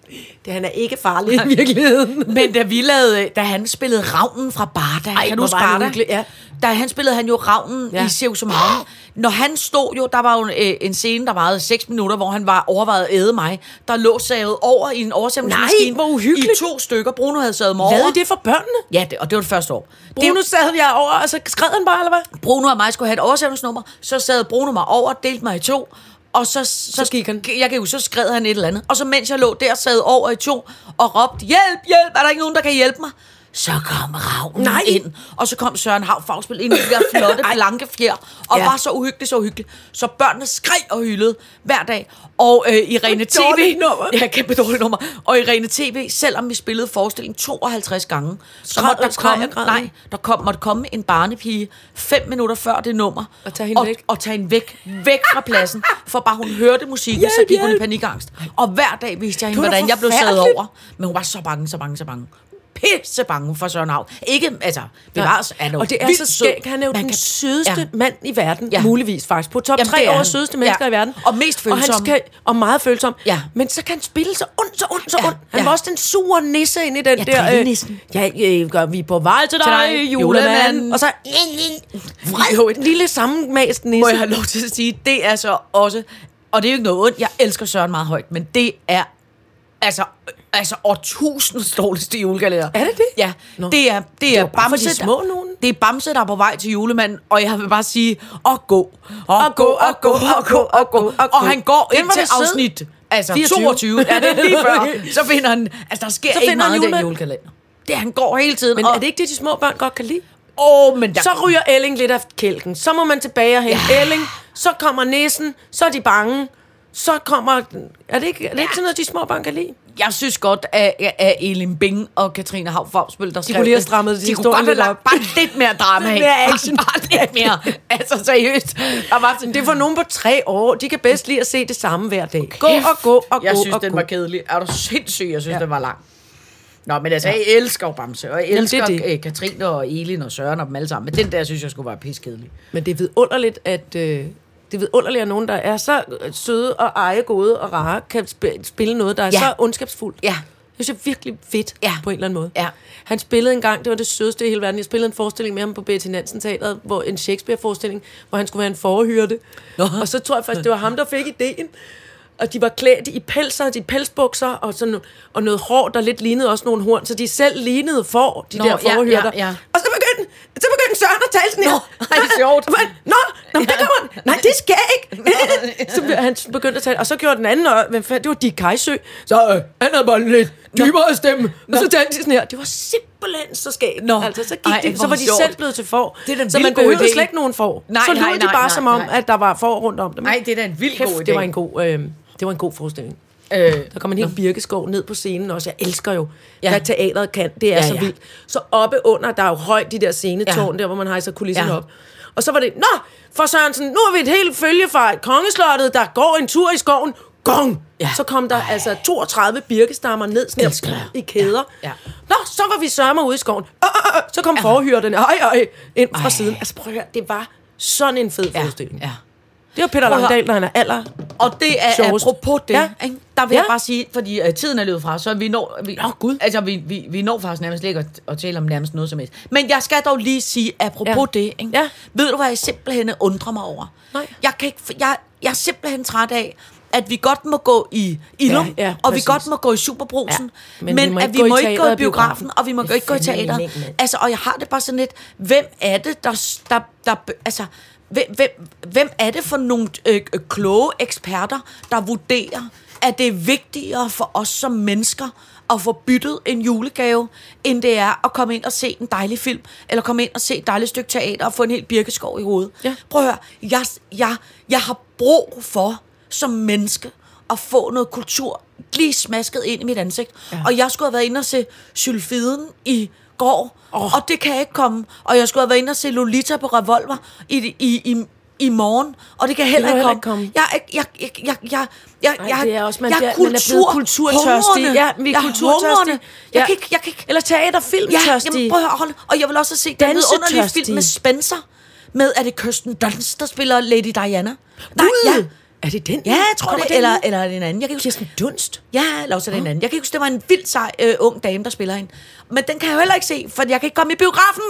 Speaker 4: Det, han er ikke farlig i virkeligheden.
Speaker 3: Men da vi lavede, da han spillede Ravnen fra Barda, Ej, kan du
Speaker 4: hvor
Speaker 3: huske
Speaker 4: var han
Speaker 3: Barda?
Speaker 4: uhyggelig, ja.
Speaker 3: Da han spillede han jo Ravnen ja.
Speaker 4: Ja.
Speaker 3: i Sivsumhavn. Når han stod jo, der var jo en, øh, en scene, der varede 6 minutter, hvor han var overvejet at æde mig. Der lå savet over i en oversættelsesmaskine.
Speaker 4: Nej, hvor uhyggeligt.
Speaker 3: I to stykker. Bruno havde savet mig over.
Speaker 4: Lavede det for børnene?
Speaker 3: Ja, det, og det var det første år.
Speaker 4: Bruno
Speaker 3: Det,
Speaker 4: sad jeg over, og så skred han bare, eller hvad?
Speaker 3: Bruno og mig skulle have et oversætningsnummer, så sad Bruno mig over, delte mig i to, og så, så, så
Speaker 4: gik han.
Speaker 3: Jeg kan jo, så skred han et eller andet. Og så mens jeg lå der, sad over i to og råbte, hjælp, hjælp, er der ikke nogen, der kan hjælpe mig? Så kom ravnen
Speaker 4: Nej.
Speaker 3: ind, og så kom Søren Hav Fagspil ind i de der
Speaker 4: *laughs*
Speaker 3: flotte, blanke fjer, og ja.
Speaker 4: Ja.
Speaker 3: var så uhyggelig, så uhyggelig. Så børnene skreg og hyldede hver dag. Og øh, Irene
Speaker 4: Det var et
Speaker 3: TV...
Speaker 4: dårligt nummer.
Speaker 3: *laughs* Ja, kæmpe dårligt nummer. Og Irene TV, selvom vi spillede forestillingen 52 gange, så måtte der
Speaker 4: og skreg og
Speaker 3: komme,
Speaker 4: græd.
Speaker 3: nej, der kom, måtte komme en barnepige fem minutter før det nummer.
Speaker 4: Og tage hende
Speaker 3: og,
Speaker 4: væk.
Speaker 3: Og tage hende væk. Væk fra pladsen. For bare hun hørte musikken,
Speaker 4: Hjælp,
Speaker 3: så gik hun i
Speaker 4: hjælp.
Speaker 3: panikangst. Og hver dag vidste jeg hende,
Speaker 4: Det var da
Speaker 3: hvordan jeg blev sad
Speaker 4: forfærdeligt.
Speaker 3: over. Men hun var så bange, så bange, så bange. Pisse bange for Søren Hav. Ikke, altså, bevares er
Speaker 4: Og det er
Speaker 3: vildt
Speaker 4: så
Speaker 3: sød.
Speaker 4: skægt. Han er jo
Speaker 3: Man
Speaker 4: den
Speaker 3: kan-
Speaker 4: sødeste
Speaker 3: Ja.
Speaker 4: ja. mand i verden,
Speaker 3: Ja.
Speaker 4: ja. muligvis faktisk. På top
Speaker 3: Jamen,
Speaker 4: Jamen,
Speaker 3: det er
Speaker 4: 3
Speaker 3: han.
Speaker 4: over sødeste mennesker
Speaker 3: Ja.
Speaker 4: i verden.
Speaker 3: Og mest
Speaker 4: Og,
Speaker 3: følsom.
Speaker 4: han skal, og meget følsom.
Speaker 3: Ja.
Speaker 4: Men så kan han spille så ondt, så ondt, så
Speaker 3: Ja.
Speaker 4: ondt. Han
Speaker 3: Ja.
Speaker 4: var også den sure nisse inde i den
Speaker 3: Ja,
Speaker 4: der...
Speaker 3: drillenissen.
Speaker 4: ja, øh, gør vi er på vej til
Speaker 3: Til
Speaker 4: dig,
Speaker 3: dig, julemanden.
Speaker 4: julemand. Og så... Jo, et lille sammenmast nisse.
Speaker 3: må jeg have lov til at sige, det er så også, og det er jo ikke noget ondt, jeg elsker Søren meget højt, men det er altså, altså årtusindets dårligste julekalender.
Speaker 4: Er det det?
Speaker 3: Ja,
Speaker 4: Nå.
Speaker 3: det er, det er
Speaker 4: var bare for de
Speaker 3: Bamse, der-
Speaker 4: små nogen.
Speaker 3: Det er Bamse, der er på vej til julemanden, og jeg vil bare sige, og gå, og
Speaker 4: Og
Speaker 3: gå,
Speaker 4: gå,
Speaker 3: og gå, og gå, og gå. Og han går
Speaker 4: Den
Speaker 3: ind
Speaker 4: var
Speaker 3: til
Speaker 4: da sød.
Speaker 3: afsnit altså
Speaker 4: 24.
Speaker 3: 22, ja, det er
Speaker 4: *laughs*
Speaker 3: lige før, så finder han, altså der sker
Speaker 4: Så
Speaker 3: ikke
Speaker 4: finder han
Speaker 3: meget i den
Speaker 4: julemanden.
Speaker 3: julekalender. Det, han går hele tiden.
Speaker 4: Men
Speaker 3: og,
Speaker 4: er det ikke det, de små børn godt kan lide?
Speaker 3: Åh, men der,
Speaker 4: Så ryger Elling lidt af kælken. Så må man tilbage og hente ja. Elling. Så kommer næsen. Så er de bange. Så kommer... Er det ikke, er det ikke sådan noget, de små børn kan lide?
Speaker 3: jeg synes godt, at, at Elin Bing og Katrine Hav Fomsbøl, der skrev
Speaker 4: kunne lige have
Speaker 3: det,
Speaker 4: strammet
Speaker 3: de, de
Speaker 4: historien
Speaker 3: kunne godt have
Speaker 4: lidt
Speaker 3: lagt
Speaker 4: op.
Speaker 3: bare lidt mere drama
Speaker 4: Lidt
Speaker 3: af.
Speaker 4: mere
Speaker 3: Bare-
Speaker 4: action.
Speaker 3: Bare *laughs* lidt mere. Altså seriøst. Der var sådan,
Speaker 4: Det er for nogen på tre år. De kan bedst lide at se det samme hver dag. Gå
Speaker 3: Kæft,
Speaker 4: og gå og
Speaker 3: Jeg
Speaker 4: gå
Speaker 3: synes,
Speaker 4: og
Speaker 3: den
Speaker 4: gå.
Speaker 3: var kedelig. Er du sindssyg? Jeg synes, den var lang. Nå, men altså, jeg elsker jo Bamse, og jeg
Speaker 4: Jamen, det
Speaker 3: elsker
Speaker 4: er
Speaker 3: Jamen,
Speaker 4: det.
Speaker 3: Katrine og Elin og Søren og dem alle sammen. Men den der, synes jeg skulle være piskedelig.
Speaker 4: Men det er vidunderligt, at... Øh, det er vidunderligt, at nogen, der er så øh, søde og eje gode og rare, kan sp- spille noget, der er
Speaker 3: Ja.
Speaker 4: ja. så ondskabsfuldt.
Speaker 3: Ja.
Speaker 4: Det synes jeg er virkelig fedt
Speaker 3: Ja.
Speaker 4: ja. på en eller anden måde.
Speaker 3: Ja.
Speaker 4: Han spillede engang, det var det sødeste i hele verden, jeg spillede en forestilling med ham på Betty Nansen Teateret, hvor en Shakespeare-forestilling, hvor han skulle være en forhyrte.
Speaker 3: Nå.
Speaker 4: Og så tror jeg faktisk, det var ham, der fik ideen. Og de var klædt i pelser, de pelsbukser og, sådan, og noget hår, der lidt lignede også nogle horn, så de selv lignede for, de
Speaker 3: Nå,
Speaker 4: Nå, der
Speaker 3: ja,
Speaker 4: forhyrter.
Speaker 3: ja, ja.
Speaker 4: Og så begyndte, så begyndte Søren at tale sådan her.
Speaker 3: Nå, ej, sjovt.
Speaker 4: Hvad? Nå, nå, men det kommer han. Nej, det skal jeg
Speaker 3: *laughs*
Speaker 4: ikke. så be- han begyndte at tale, og så gjorde den anden, og hvem fanden, det var Dick Kajsø. Så øh, han havde bare en lidt dybere stemme. Og så talte de sådan her. Det var simpelthen så skægt.
Speaker 3: Nå.
Speaker 4: Altså, så, gik
Speaker 3: Ej,
Speaker 4: de,
Speaker 3: hvor
Speaker 4: så var de
Speaker 3: sjovt.
Speaker 4: selv blevet til får.
Speaker 3: Det er da en
Speaker 4: så
Speaker 3: vild
Speaker 4: man
Speaker 3: god
Speaker 4: behøvede
Speaker 3: idé.
Speaker 4: slet ikke nogen får.
Speaker 3: Nej,
Speaker 4: så lød
Speaker 3: nej,
Speaker 4: de
Speaker 3: nej,
Speaker 4: bare
Speaker 3: nej,
Speaker 4: som om,
Speaker 3: nej.
Speaker 4: at der var får rundt om dem.
Speaker 3: Nej, det er da en vild
Speaker 4: Kæft,
Speaker 3: god idé.
Speaker 4: det var en god, øh, det var en god forestilling.
Speaker 3: Øh,
Speaker 4: Der kom en helt birkeskov ned på scenen også. Jeg elsker jo,
Speaker 3: Ja.
Speaker 4: ja. hvad teateret kan. Det er
Speaker 3: Ja,
Speaker 4: ja, så
Speaker 3: ja.
Speaker 4: vildt. Så oppe under, der er jo højt de der scenetårn,
Speaker 3: Ja.
Speaker 4: ja. der hvor man hejser kulissen
Speaker 3: Ja.
Speaker 4: ja. op. Og så var det, nå, for Sørensen, nu er vi et helt følge fra kongeslottet, der går en tur i skoven. Gong!
Speaker 3: Ja.
Speaker 4: Ja. Så kom der Ej. altså 32 birkestammer ned sådan
Speaker 3: Elsker
Speaker 4: her,
Speaker 3: jeg.
Speaker 4: i kæder.
Speaker 3: Ja. Ja.
Speaker 4: Nå, så var vi sørmer ude i skoven. Øh, øh, øh, så kom ja. forhyrterne, øj, øj, ind fra
Speaker 3: Ej.
Speaker 4: siden. Altså prøv at høre, det var sådan en fed
Speaker 3: ja,
Speaker 4: forestilling.
Speaker 3: ja.
Speaker 4: Det var Peter
Speaker 3: Prøv at høre.
Speaker 4: Langdal, når han er aller
Speaker 3: Og det er
Speaker 4: Sjovest.
Speaker 3: apropos det, ja.
Speaker 4: Ja.
Speaker 3: ikke? der vil ja.
Speaker 4: Ja.
Speaker 3: jeg bare sige, fordi øh, tiden er løbet fra, så vi når, vi,
Speaker 4: Nå, Gud.
Speaker 3: Altså, vi, vi, vi når faktisk nærmest ikke at, at tale om nærmest noget som helst. Men jeg skal dog lige sige, apropos ja.
Speaker 4: Ja.
Speaker 3: det, ikke?
Speaker 4: Ja.
Speaker 3: ved du hvad jeg simpelthen undrer mig over?
Speaker 4: Nej.
Speaker 3: Jeg, kan ikke, f- jeg, jeg er simpelthen træt af, at vi godt må gå i Ilum,
Speaker 4: Ja, ja,
Speaker 3: og vi
Speaker 4: præcis.
Speaker 3: godt må gå i Superbrusen, ja,
Speaker 4: Ja,
Speaker 3: men,
Speaker 4: men vi
Speaker 3: men
Speaker 4: må
Speaker 3: at
Speaker 4: ikke
Speaker 3: vi
Speaker 4: gå i
Speaker 3: må ikke gå
Speaker 4: teateret
Speaker 3: i
Speaker 4: og
Speaker 3: biografen,
Speaker 4: biografen.
Speaker 3: og vi må
Speaker 4: Det er
Speaker 3: ikke gå i
Speaker 4: fandme
Speaker 3: teateret.
Speaker 4: meningen, mand.
Speaker 3: Altså, og jeg har det bare sådan lidt, hvem er det, der, der, der altså, hvem, hvem, hvem er det for nogle øh, øh, kloge eksperter, der vurderer, at det er vigtigere for os som mennesker at få byttet en julegave, end det er at komme ind og se en dejlig film, eller komme ind og se et dejligt stykke teater og få en hel birkeskov i hovedet.
Speaker 4: Ja.
Speaker 3: Prøv at høre, jeg, jeg, jeg har brug for, som menneske, at få noget kultur lige smasket ind i mit ansigt. Ja. Og jeg skulle have været inde og se Sylfiden i går, oh. og det kan ikke komme. Og jeg skulle have været inde og se Lolita på Revolver i, i, i, i morgen, og det kan heller
Speaker 4: Det
Speaker 3: ikke
Speaker 4: kan
Speaker 3: komme.
Speaker 4: heller ikke
Speaker 3: Jeg, er ikke- jeg, jeg, jeg, jeg, jeg,
Speaker 4: Nej,
Speaker 3: jeg,
Speaker 4: det er også, man,
Speaker 3: jeg
Speaker 4: det
Speaker 3: er
Speaker 4: er, man er blevet kulturtørstig.
Speaker 3: hungrende.
Speaker 4: Ja, vi er
Speaker 3: Jeg hungrende.
Speaker 4: kulturtørstige.
Speaker 3: Jeg kan ikke, jeg kan ikke,
Speaker 4: Eller teaterfilmtørstige.
Speaker 3: Ja, jamen, prøv at høre, hold. Og jeg vil også se den underlige
Speaker 4: Dansetørstige.
Speaker 3: film med Spencer. Med, er det Kirsten Dunst, der spiller Lady Diana? Nej, ja.
Speaker 4: Er det den?
Speaker 3: Ja, jeg tror
Speaker 4: Kommer
Speaker 3: det.
Speaker 4: den
Speaker 3: Eller,
Speaker 4: nu?
Speaker 3: eller er det en anden. Jeg kan ikke huske.
Speaker 4: Kirsten Dunst.
Speaker 3: Ja, eller også er det en anden. Jeg kan ikke huske, det var en vildt sej øh, ung dame, der spiller hende. Men den kan jeg jo heller ikke se, for jeg kan ikke komme i biografen.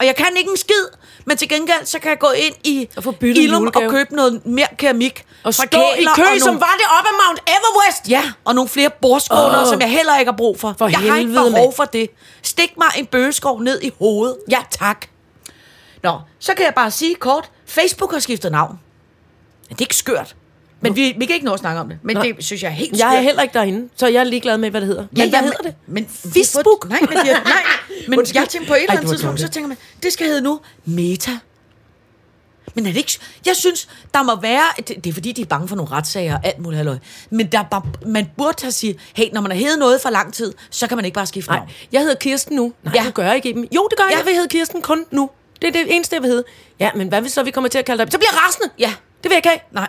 Speaker 3: Og jeg kan ikke en skid. Men til gengæld, så kan jeg gå ind i
Speaker 4: Og få byttet en
Speaker 3: og
Speaker 4: julegave.
Speaker 3: købe noget mere keramik.
Speaker 4: Og
Speaker 3: fra
Speaker 4: stå i
Speaker 3: kæler
Speaker 4: kø,
Speaker 3: og
Speaker 4: som var det op ad Mount Everest.
Speaker 3: Ja, og nogle flere bordskåner, oh.
Speaker 4: Åh.
Speaker 3: som jeg heller ikke har brug for.
Speaker 4: For
Speaker 3: jeg har ikke
Speaker 4: helvede,
Speaker 3: behov
Speaker 4: mand.
Speaker 3: for det. Stik mig en bøgeskov ned i hovedet. Ja, tak. Nå, så kan jeg bare sige kort, Facebook har skiftet navn. Ja, Det er ikke skørt. Men vi, vi kan ikke nå at snakke om det. Men
Speaker 4: Nej.
Speaker 3: det synes jeg er helt skørt.
Speaker 4: Jeg er heller ikke derinde, så jeg er ligeglad med, hvad det hedder. Ja,
Speaker 3: ja,
Speaker 4: men hvad
Speaker 3: ja,
Speaker 4: hedder det?
Speaker 3: Men Facebook? Nej, men, jeg,
Speaker 4: *laughs*
Speaker 3: nej, men
Speaker 4: Undskyld.
Speaker 3: jeg tænker på et eller
Speaker 4: Ej,
Speaker 3: andet
Speaker 4: det var
Speaker 3: tidspunkt, så
Speaker 4: dårligt.
Speaker 3: tænker man, det skal hedde nu Meta. Men er det ikke... Jeg synes, der må være... Det, det er fordi, de er bange for nogle retssager og alt muligt halløj. Men der, er bare- man burde have sige, hey, når man har heddet noget for lang tid, så kan man ikke bare skifte
Speaker 4: Nej,
Speaker 3: navn.
Speaker 4: jeg hedder Kirsten nu. Nej,
Speaker 3: Ja.
Speaker 4: ja. det gør jeg ikke i dem. Jo, det gør jeg.
Speaker 3: Ja.
Speaker 4: Jeg vil hedde Kirsten kun nu. Det er det eneste, jeg vil hedde. Ja, men hvad hvis så vi kommer til at kalde dig? Så bliver jeg rasende.
Speaker 3: Ja.
Speaker 4: Det vil jeg ikke have.
Speaker 3: Nej.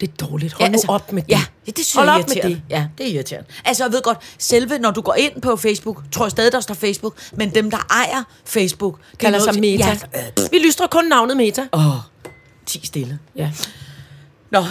Speaker 4: Det er dårligt. Hold ja,
Speaker 3: altså,
Speaker 4: nu op med det.
Speaker 3: Ja, det, det synes
Speaker 4: Hold
Speaker 3: jeg er
Speaker 4: op med
Speaker 3: irriterende.
Speaker 4: det.
Speaker 3: Ja, det er irriterende. Altså, jeg ved godt, selve når du går ind på Facebook, tror jeg stadig, der står Facebook, men dem, der ejer Facebook, det er
Speaker 4: Kalder
Speaker 3: noget
Speaker 4: sig
Speaker 3: til-
Speaker 4: Meta.
Speaker 3: Ja, øh,
Speaker 4: Vi lystrer kun navnet Meta. Oh.
Speaker 3: ti stille.
Speaker 4: Ja.
Speaker 3: Nå,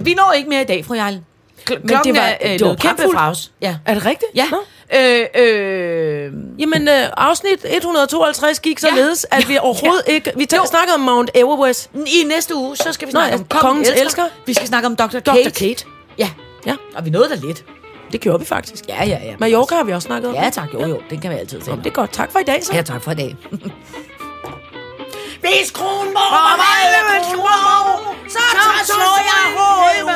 Speaker 3: vi når ikke mere i dag, fru Jarl. Klokken
Speaker 4: Men det var,
Speaker 3: er, øh,
Speaker 4: det var
Speaker 3: noget kæmpe
Speaker 4: pragtfuldt.
Speaker 3: fra os. Ja.
Speaker 4: Er det rigtigt?
Speaker 3: Ja.
Speaker 4: Nå.
Speaker 3: Øh, øh,
Speaker 4: Jamen, øh, afsnit 152 gik således, ja. at vi overhovedet ja. ikke... Vi
Speaker 3: Jo.
Speaker 4: tager, snakkede om Mount Everest.
Speaker 3: I næste uge, så skal vi
Speaker 4: Nå,
Speaker 3: snakke
Speaker 4: ja,
Speaker 3: om Kongens
Speaker 4: Kongens
Speaker 3: elsker. elsker.
Speaker 4: Elsker.
Speaker 3: Vi skal snakke om Dr. Kate.
Speaker 4: Dr. Kate.
Speaker 3: Ja.
Speaker 4: Ja.
Speaker 3: Og vi nåede der lidt.
Speaker 4: Det gjorde vi faktisk.
Speaker 3: Ja, ja, ja.
Speaker 4: Mallorca har vi også snakket om.
Speaker 3: Ja, tak. Jo, jo. Det kan vi altid
Speaker 4: Nå,
Speaker 3: tale om.
Speaker 4: Det er godt. Tak for i dag, så.
Speaker 3: Ja, tak for i
Speaker 4: *laughs*
Speaker 3: dag.
Speaker 4: Hvis kronen må være så slår jeg hovedet